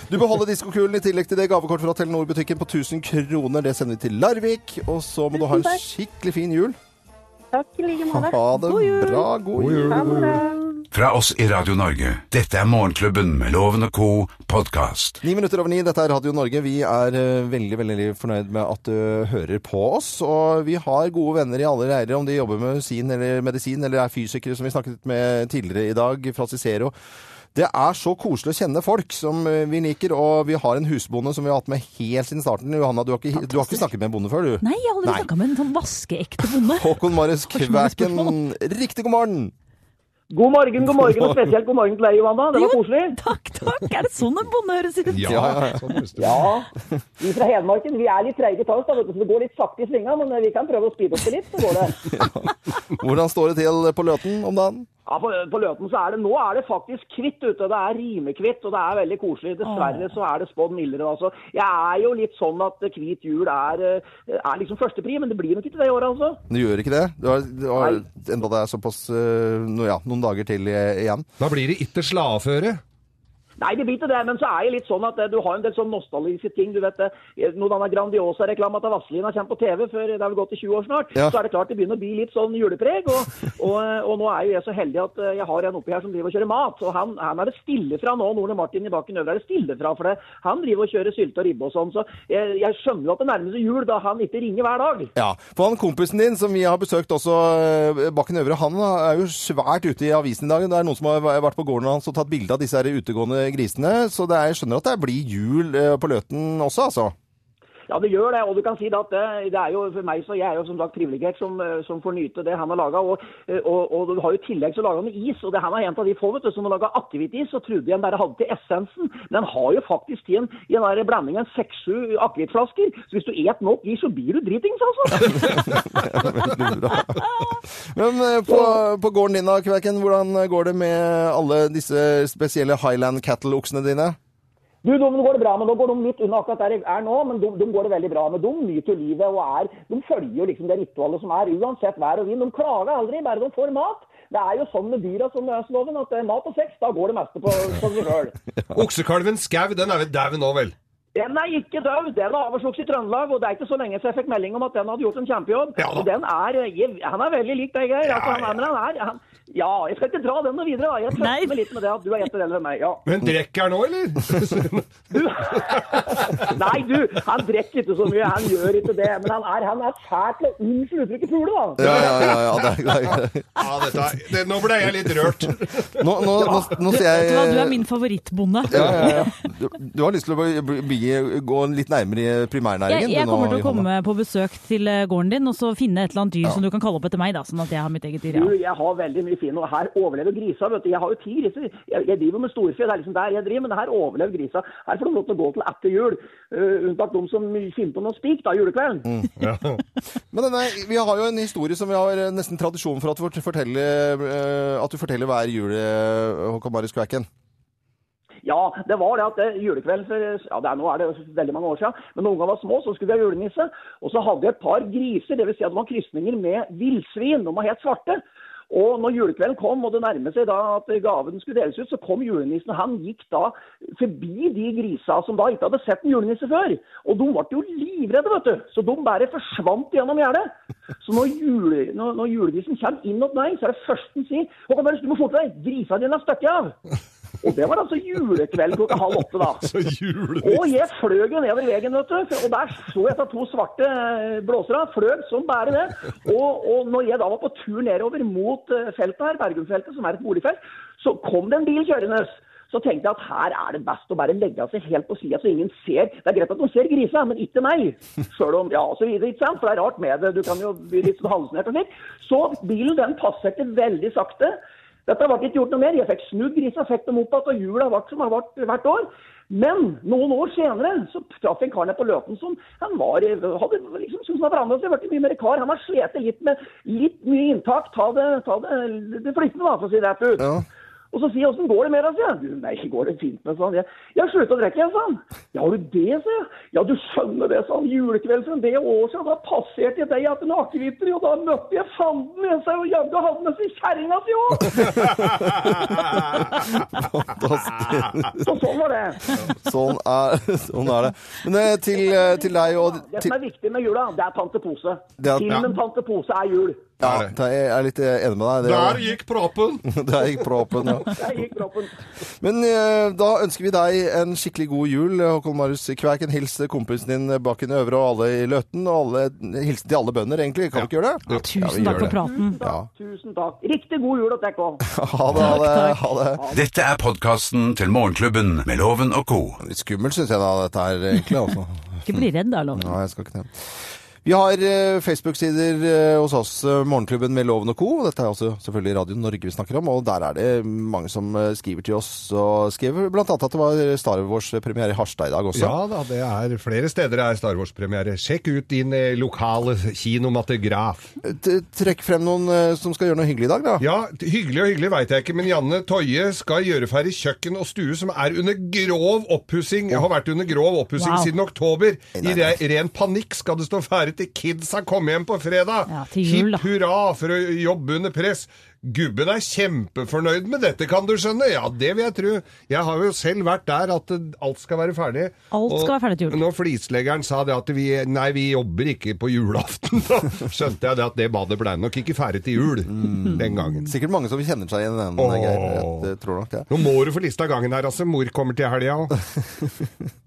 Speaker 2: Du beholder diskokulen i tillegg til det gavekort fra Telenor-butikken på 1000 kroner. Det sender vi til Larvik. Og så må du ha en
Speaker 9: Tusen takk.
Speaker 2: skikkelig fin jul.
Speaker 9: Takk i like
Speaker 2: Ha
Speaker 9: måte.
Speaker 2: det bra. God jul.
Speaker 9: Ha det.
Speaker 1: Fra oss i Radio Norge. Dette er Morgenklubben med Loven og co. podkast.
Speaker 2: Ni minutter over ni, dette er Radio Norge. Vi er eh, veldig veldig fornøyd med at du hører på oss. Og vi har gode venner i alle leirer, om de jobber med medisin eller medisin, eller er fysikere, som vi snakket med tidligere i dag, fra Cicero. Det er så koselig å kjenne folk som eh, vi liker, og vi har en husbonde som vi har hatt med helt siden starten. Johanna, du har ikke, du har ikke snakket med en bonde før, du?
Speaker 3: Nei, jeg har aldri
Speaker 2: Nei.
Speaker 3: snakka med en sånn vaskeekte bonde.
Speaker 2: Håkon Marius
Speaker 3: Har ikke noe
Speaker 2: Kvæken, riktig god morgen!
Speaker 10: God morgen, god morgen, og spesielt god morgen til deg, Johanna. Det var
Speaker 3: Jo.
Speaker 10: koselig.
Speaker 3: Takk, takk! Er det sånn en bonde høres ut?
Speaker 4: Ja, sånn høres det ut.
Speaker 10: Ja, vi fra Hedmarken vi er litt treige til oss, da, vet du, så det går litt sakte i svinga. Men eh, vi kan prøve å speede opp det litt, så går det.
Speaker 2: Hvordan står det til på Løten om dagen?
Speaker 10: Ja, på, på Løten så er det nå er det faktisk kvitt ute. Det er rimekvitt, og det er veldig koselig. Dessverre så er det spådd mildere. Altså. Jeg er jo litt sånn at hvit jul er, eh, er liksom førstepri, men det blir nok ikke det i år, altså.
Speaker 2: Du gjør ikke det? Du har, du har,
Speaker 10: Nei.
Speaker 2: enda det er såpass eh, no, ja, noen dager til eh, igjen.
Speaker 4: Da blir det ikke slaaføre.
Speaker 10: Nei, det blir ikke det, men så er jeg litt sånn at eh, du har en del sånn nostalgiske ting. Du vet, eh, noen annen Grandiosa-reklame at Vazelina kommer på TV, for det har vel gått i 20 år snart.
Speaker 2: Ja.
Speaker 10: Så er det klart det begynner å bli litt sånn julepreg. Og, og, eh, og nå er jo jeg så heldig at eh, jeg har en oppi her som driver og kjører mat. Og han, han er det stille fra nå. Norne Martin i baken øvre er det stille fra, for det. han driver og kjører sylte og ribbe og sånn. Så jeg, jeg skjønner jo at det nærmer seg jul da han ikke ringer hver dag.
Speaker 2: Ja, for han kompisen din som vi har besøkt også, eh, Bakken Øvre, han er jo svært ute i avisen i dag. Det er noen som har vært på gården hans og tatt bilde av disse her utegående grisene. Så det er, jeg skjønner at det blir jul eh, på Løten også, altså.
Speaker 10: Ja, det gjør det. Og du kan si det at eh, det, det er jo for meg, så jeg er jo som sagt privilegert som, eh, som får nyte det han har laga. Og, eh, og, og du har jo i tillegg så laga han is, og det han er en av de få vet du, som har laga akevittis. Og trodde jeg han bare hadde til essensen, men han har jo faktisk til en, i en der blanding en seks-sju akevittflasker. Så hvis du et nok is, så blir du dritings, altså.
Speaker 2: Veldig bra. Men eh, på, på gården din da, Kverken, hvordan går det med alle disse spesielle Highland Cattle-oksene dine?
Speaker 10: Du, de går det bra med, nå går de litt unna akkurat der jeg er nå, men de, de går det veldig bra med. De nyter jo livet og er, de følger jo liksom det ritualet som er, uansett vær og vind. De klager aldri, bare de får mat. Det er jo sånn med dyra som Østloven, at eh, mat og sex, da går det meste på, på seg sjøl.
Speaker 4: Oksekalven Skau, den er vel dau nå, vel?
Speaker 10: Den er ikke død, den er avslukt i Trøndelag, og det er ikke så lenge siden jeg fikk melding om at den hadde gjort en kjempejobb.
Speaker 4: Ja da.
Speaker 10: Og den er, eh, jeg, han er veldig lik deg, Geir. altså, han er, men han er, han, ja, jeg skal ikke dra den noe videre, da. Jeg
Speaker 3: Nei.
Speaker 10: trøster meg litt med det at du er ett eller med meg, ja.
Speaker 4: Men drikker han nå, eller?
Speaker 10: Nei, du, han drikker ikke så mye. Han gjør ikke det. Men han er, han er fæl til å unnskylde uttrykket pule, da.
Speaker 2: Ja, ja, ja. ja det er, det er.
Speaker 4: Ja, dette, er- det, nå ble jeg litt rørt.
Speaker 2: Nå, nå, nå, nå ser jeg
Speaker 3: Vet du hva, du er min favorittbonde.
Speaker 2: Ja, ja, ja. Du, du har lyst til å bli, bli, gå litt nærmere i primærnæringen?
Speaker 3: Jeg, jeg
Speaker 2: du nå,
Speaker 3: kommer til å
Speaker 2: Johanna.
Speaker 3: komme på besøk til eh, gården din og så finne et eller annet dyr som du kan kalle opp etter meg, da, sånn at jeg har mitt eget dyr.
Speaker 10: Du,
Speaker 3: Ja.
Speaker 10: jeg har veldig mye fin, og her overlever grisa, vet du. Jeg har jo ti griser. Jeg, jeg driver med storfe, det er liksom der jeg driver, men her overlever grisa. Her får de lov til å gå til etter jul. Eh, unntatt de som finner på noe spik, da, julekvelden.
Speaker 2: Men denne, vi har jo en historie som vi har eh, nesten tradisjon for at du forteller, eh, at du forteller hver jul, eh, Håkon Marius Kvæken.
Speaker 10: Ja, det var det at eh, julekvelden for eh, ja, det er, Nå er det jo veldig mange år siden, men da ungene var små, så skulle vi ha julenisse. Og så hadde vi et par griser, dvs. Si at de var krysninger med villsvin. De var helt svarte. Og når julekvelden kom og det nærmet seg da at gaven skulle deles ut, så kom julenissen. og Han gikk da forbi de grisa som da ikke hadde sett en julenisse før. Og de ble jo livredde, vet du. Så de bare forsvant gjennom gjerdet. Så når, jule, når, når julenissen kommer inn hos meg, så er det første han sier Håkon Børres, du må forte deg! Grisa dine er stukket av! Og det var altså julekvelden klokka halv åtte, da. Og jeg fløg jo nedover veien, vet du. Og der så jeg etter to svarte eh, blåsere. Fløg som bare det. Og, og når jeg da var på tur nedover mot eh, feltet her, Bergumfeltet, som er et boligfelt, så kom det en bil kjørende. Så tenkte jeg at her er det best å bare legge seg helt på sida så ingen ser. Det er greit at de ser grisa, men ikke meg. Sjøl om Ja, og så videre, ikke sant? For det er rart med det. Du kan jo bli litt sånn halsnert og slik. Så bilen den passerte veldig sakte. Dette ble ikke gjort noe mer. Jeg fikk snudd grisa, fikk dem opp igjen, og jula ble som den ble hvert år. Men noen år senere så traff jeg en kar nede på Løten som han var, i- hadde liksom syntes han hadde forandret seg, blitt mye mer kar. Han har slitt litt med litt mye inntak. Ta det, ta det, det flytende, da, for å si det rett ut. Og så sier jeg åssen går det med deg, sier jeg. Du, Nei, går det fint med, sa han. Jeg, jeg har slutta å drikke, jeg, sa han. Ja, har du det, sa jeg. Ja, du skjønner det, sa han. Julekveld for en del år siden, da passerte jeg deg etter en akevitter, og da møtte jeg fanden, jeg, sa jeg, og jaggu hadde med seg kjerringa si òg.
Speaker 2: Fantastisk.
Speaker 10: Og sånn var det.
Speaker 2: Sånn er, sånn er det. Men eh, til, eh, til deg og
Speaker 10: Det
Speaker 2: til,
Speaker 10: som er viktig med jula, det er Tante Pose.
Speaker 2: Det er-
Speaker 10: Filmen
Speaker 2: ja.
Speaker 10: Tante Pose er jul.
Speaker 2: ja, Jeg er litt eh, enig med deg.
Speaker 10: Der
Speaker 2: gikk proppen! Der gikk proppen, ja.
Speaker 10: Der gikk kroppen.
Speaker 2: Men eh, da ønsker vi deg en skikkelig god jul, Håkon Marius Kvæken. Hils eh, kompisen din Bakken Øvre og alle i Løten. Og alle, hilsen til alle bønder, egentlig. Kan vi ikke gjøre det? Ja, vi
Speaker 3: Tusen
Speaker 2: gjør
Speaker 3: takk
Speaker 2: det.
Speaker 3: for praten.
Speaker 2: Ja.
Speaker 10: Tusen takk. Riktig god jul og takk òg.
Speaker 2: Ha det, ha det. Ha det.
Speaker 1: Dette er podkasten til Morgenklubben med Loven og co.
Speaker 2: Litt skummelt, syns jeg da, dette her, egentlig. Altså.
Speaker 3: Ikke bli redd da, Loven.
Speaker 2: Nei, jeg skal ikke det. Vi har eh, Facebook-sider eh, hos oss, eh, Morgenklubben med Loven og Co. Dette er også selvfølgelig Radio Norge vi snakker om, og der er det mange som eh, skriver til oss. Og skriver blant annet at det var Star Wars-premiere i Harstad i dag også.
Speaker 4: Ja da, det er flere steder det er Star Wars-premiere. Sjekk ut din eh, lokale kinomatograf.
Speaker 2: T- Trekk frem noen eh, som skal gjøre noe hyggelig i dag, da.
Speaker 4: Ja, t- hyggelig og hyggelig veit jeg ikke, men Janne Toje skal gjøre ferdig kjøkken og stue som er under grov oppussing. Jeg har vært under grov oppussing
Speaker 2: Wow.
Speaker 4: siden oktober. I re ren panikk skal det stå ferdig til kidsa kommer hjem på fredag.
Speaker 3: Ja, til jul, da.
Speaker 4: Hipp hurra for å jobbe under press. Gubben er kjempefornøyd med dette, kan du skjønne. Ja, det vil jeg tro. Jeg har jo selv vært der at eh, alt skal være ferdig.
Speaker 3: Alt skal være ferdig til jul.
Speaker 4: Når flisleggeren sa det at vi, nei, vi jobber ikke på julaften, da skjønte jeg det at det badet ble nok ikke ferdig til jul den gangen.
Speaker 2: Sikkert mange som kjenner seg igjen i den.
Speaker 4: Åh.
Speaker 2: Geir. Jeg eh, tror nok det.
Speaker 4: Nå må du få lista av gangen her, altså. Mor kommer til helga òg.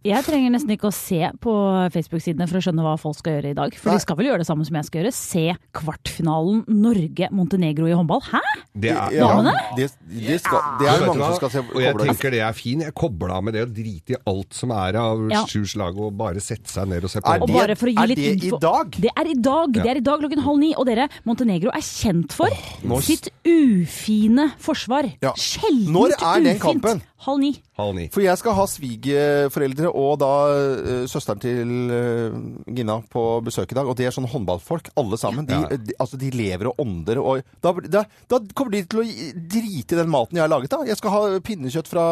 Speaker 3: Jeg trenger nesten ikke å se på Facebook-sidene for å skjønne hva folk skal gjøre i dag. For de skal vel gjøre det samme som jeg skal gjøre. Se kvartfinalen Norge-Montenegro i håndball. Hæ?!
Speaker 4: Det er,
Speaker 3: Ja, men
Speaker 2: det, det, skal, det er
Speaker 4: Vet du
Speaker 2: mange
Speaker 4: hva?
Speaker 2: som skal se
Speaker 4: Og jeg
Speaker 2: kobler.
Speaker 4: tenker det er fin. Jeg kobler av med det og driter i alt som er av
Speaker 3: Ja.
Speaker 4: sju slag, og bare sette seg ned og se
Speaker 2: Er
Speaker 4: på.
Speaker 3: Og
Speaker 2: det-
Speaker 3: bare for å gi
Speaker 2: er
Speaker 3: litt
Speaker 2: det i
Speaker 3: info.
Speaker 2: dag?
Speaker 3: Det er i dag. Det
Speaker 4: Ja.
Speaker 3: er i dag klokken halv ni. Og dere, Montenegro er kjent for
Speaker 4: nå-
Speaker 3: sitt ufine forsvar.
Speaker 2: Ja.
Speaker 3: Sjeldent
Speaker 2: Når er den
Speaker 3: ufint.
Speaker 2: kampen?
Speaker 3: Halv ni.
Speaker 4: Halv ni.
Speaker 2: For jeg skal ha svigerforeldre og da eh, søsteren til eh, Gina på besøk i dag. Og det er sånn håndballfolk, alle sammen. De,
Speaker 4: Ja.
Speaker 2: de, altså, de lever og ånder. Og da, blir- da, da kommer de til å gi- drite i den maten jeg har laget. da. Jeg skal ha pinnekjøtt fra,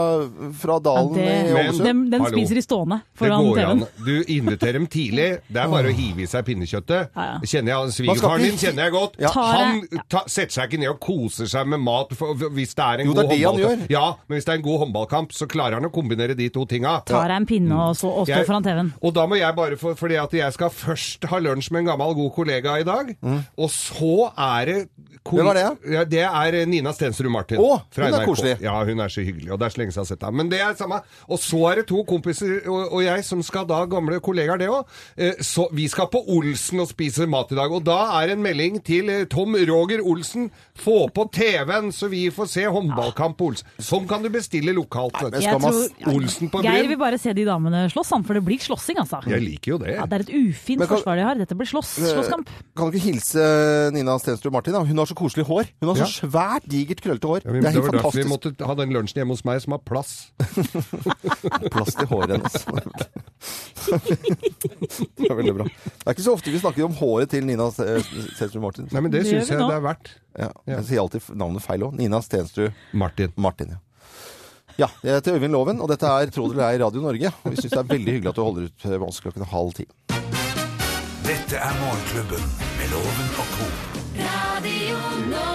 Speaker 2: fra Dalen
Speaker 3: Det,
Speaker 2: i
Speaker 4: Men-
Speaker 2: Ålesund.
Speaker 3: den den
Speaker 4: Hallo.
Speaker 3: spiser de stående
Speaker 4: Det
Speaker 3: foran
Speaker 4: går
Speaker 3: TV-en.
Speaker 4: an. Du inviterer dem tidlig. Det er bare å hive i seg pinnekjøttet.
Speaker 3: Ja, ja.
Speaker 4: Kjenner jeg
Speaker 2: Man skal
Speaker 4: Svigerfaren
Speaker 2: ikke-
Speaker 4: din kjenner jeg godt.
Speaker 2: Ja.
Speaker 3: Tar
Speaker 4: Han
Speaker 3: jeg- ja.
Speaker 4: ta, setter seg ikke ned og koser seg med mat for, for, hvis det er en
Speaker 2: Jo, det
Speaker 4: god
Speaker 2: er det han
Speaker 4: håndballkamp.
Speaker 2: gjør.
Speaker 4: Ja, men hvis det er en god håndballkamp, så klarer han å kombinere de to tinga.
Speaker 3: Tar deg en pinne og, så, og står
Speaker 4: Jeg-
Speaker 3: foran TV-en.
Speaker 4: Og da må jeg bare få, fordi at jeg skal først ha lunsj med en gammel god kollega i dag, og så er det ko-
Speaker 2: Mm. Hvem er det?
Speaker 4: Ja, det er eh, Nina Stensrud Martin.
Speaker 2: Å,
Speaker 4: fra
Speaker 2: hun er
Speaker 4: NRK.
Speaker 2: koselig.
Speaker 4: Ja, hun er så hyggelig, og det er så lenge siden jeg har sett henne. Men det er samme. Og så er det to kompiser og, og jeg som skal da, gamle kollegaer det òg, så vi skal på Olsen og spise mat i dag. Og da er en melding til eh, Tom Roger Olsen, få på TV-en så vi får se håndballkamp på Olsen. Sånn kan du bestille lokalt. vet du.
Speaker 2: skal man s-
Speaker 4: Olsen på
Speaker 3: Geir
Speaker 4: Bryn.
Speaker 3: vil bare se de damene slåss, han, for det blir slåssing, altså.
Speaker 4: Jeg liker jo det. Eh,
Speaker 3: Ja, det er et ufint
Speaker 2: Men kan-
Speaker 3: forsvar de har. Dette blir slåss, slåsskamp.
Speaker 2: Eh, Kan du ikke hilse eh, Nina Stensrud Martin? da? Hun har så koselig hår. Hun har så svært digert, krøllete hår.
Speaker 4: Ja, vi,
Speaker 2: det er
Speaker 4: det
Speaker 2: helt
Speaker 4: var derfor vi
Speaker 2: fantastisk.
Speaker 4: måtte ha den lunsjen hjemme hos meg som har plass.
Speaker 2: Plass til håret hennes. det er veldig bra. Det er ikke så ofte vi snakker om håret til Nina Stensrud Martin.
Speaker 4: Nei, men det
Speaker 3: Det
Speaker 4: syns
Speaker 3: gjør vi
Speaker 4: jeg
Speaker 3: nå.
Speaker 4: det er verdt.
Speaker 2: Ja. Jeg sier alltid f- navnet feil òg. Nina Stensrud
Speaker 4: Martin.
Speaker 2: Martin, ja. Ja, jeg heter Øyvind Loven, og dette er Tro det eller ei Radio Norge. Og vi syns det er veldig hyggelig at du holder ut eh, med oss klokken halv ti.
Speaker 1: Dette er Morgenklubben med Loven og co.
Speaker 7: Radio Norge.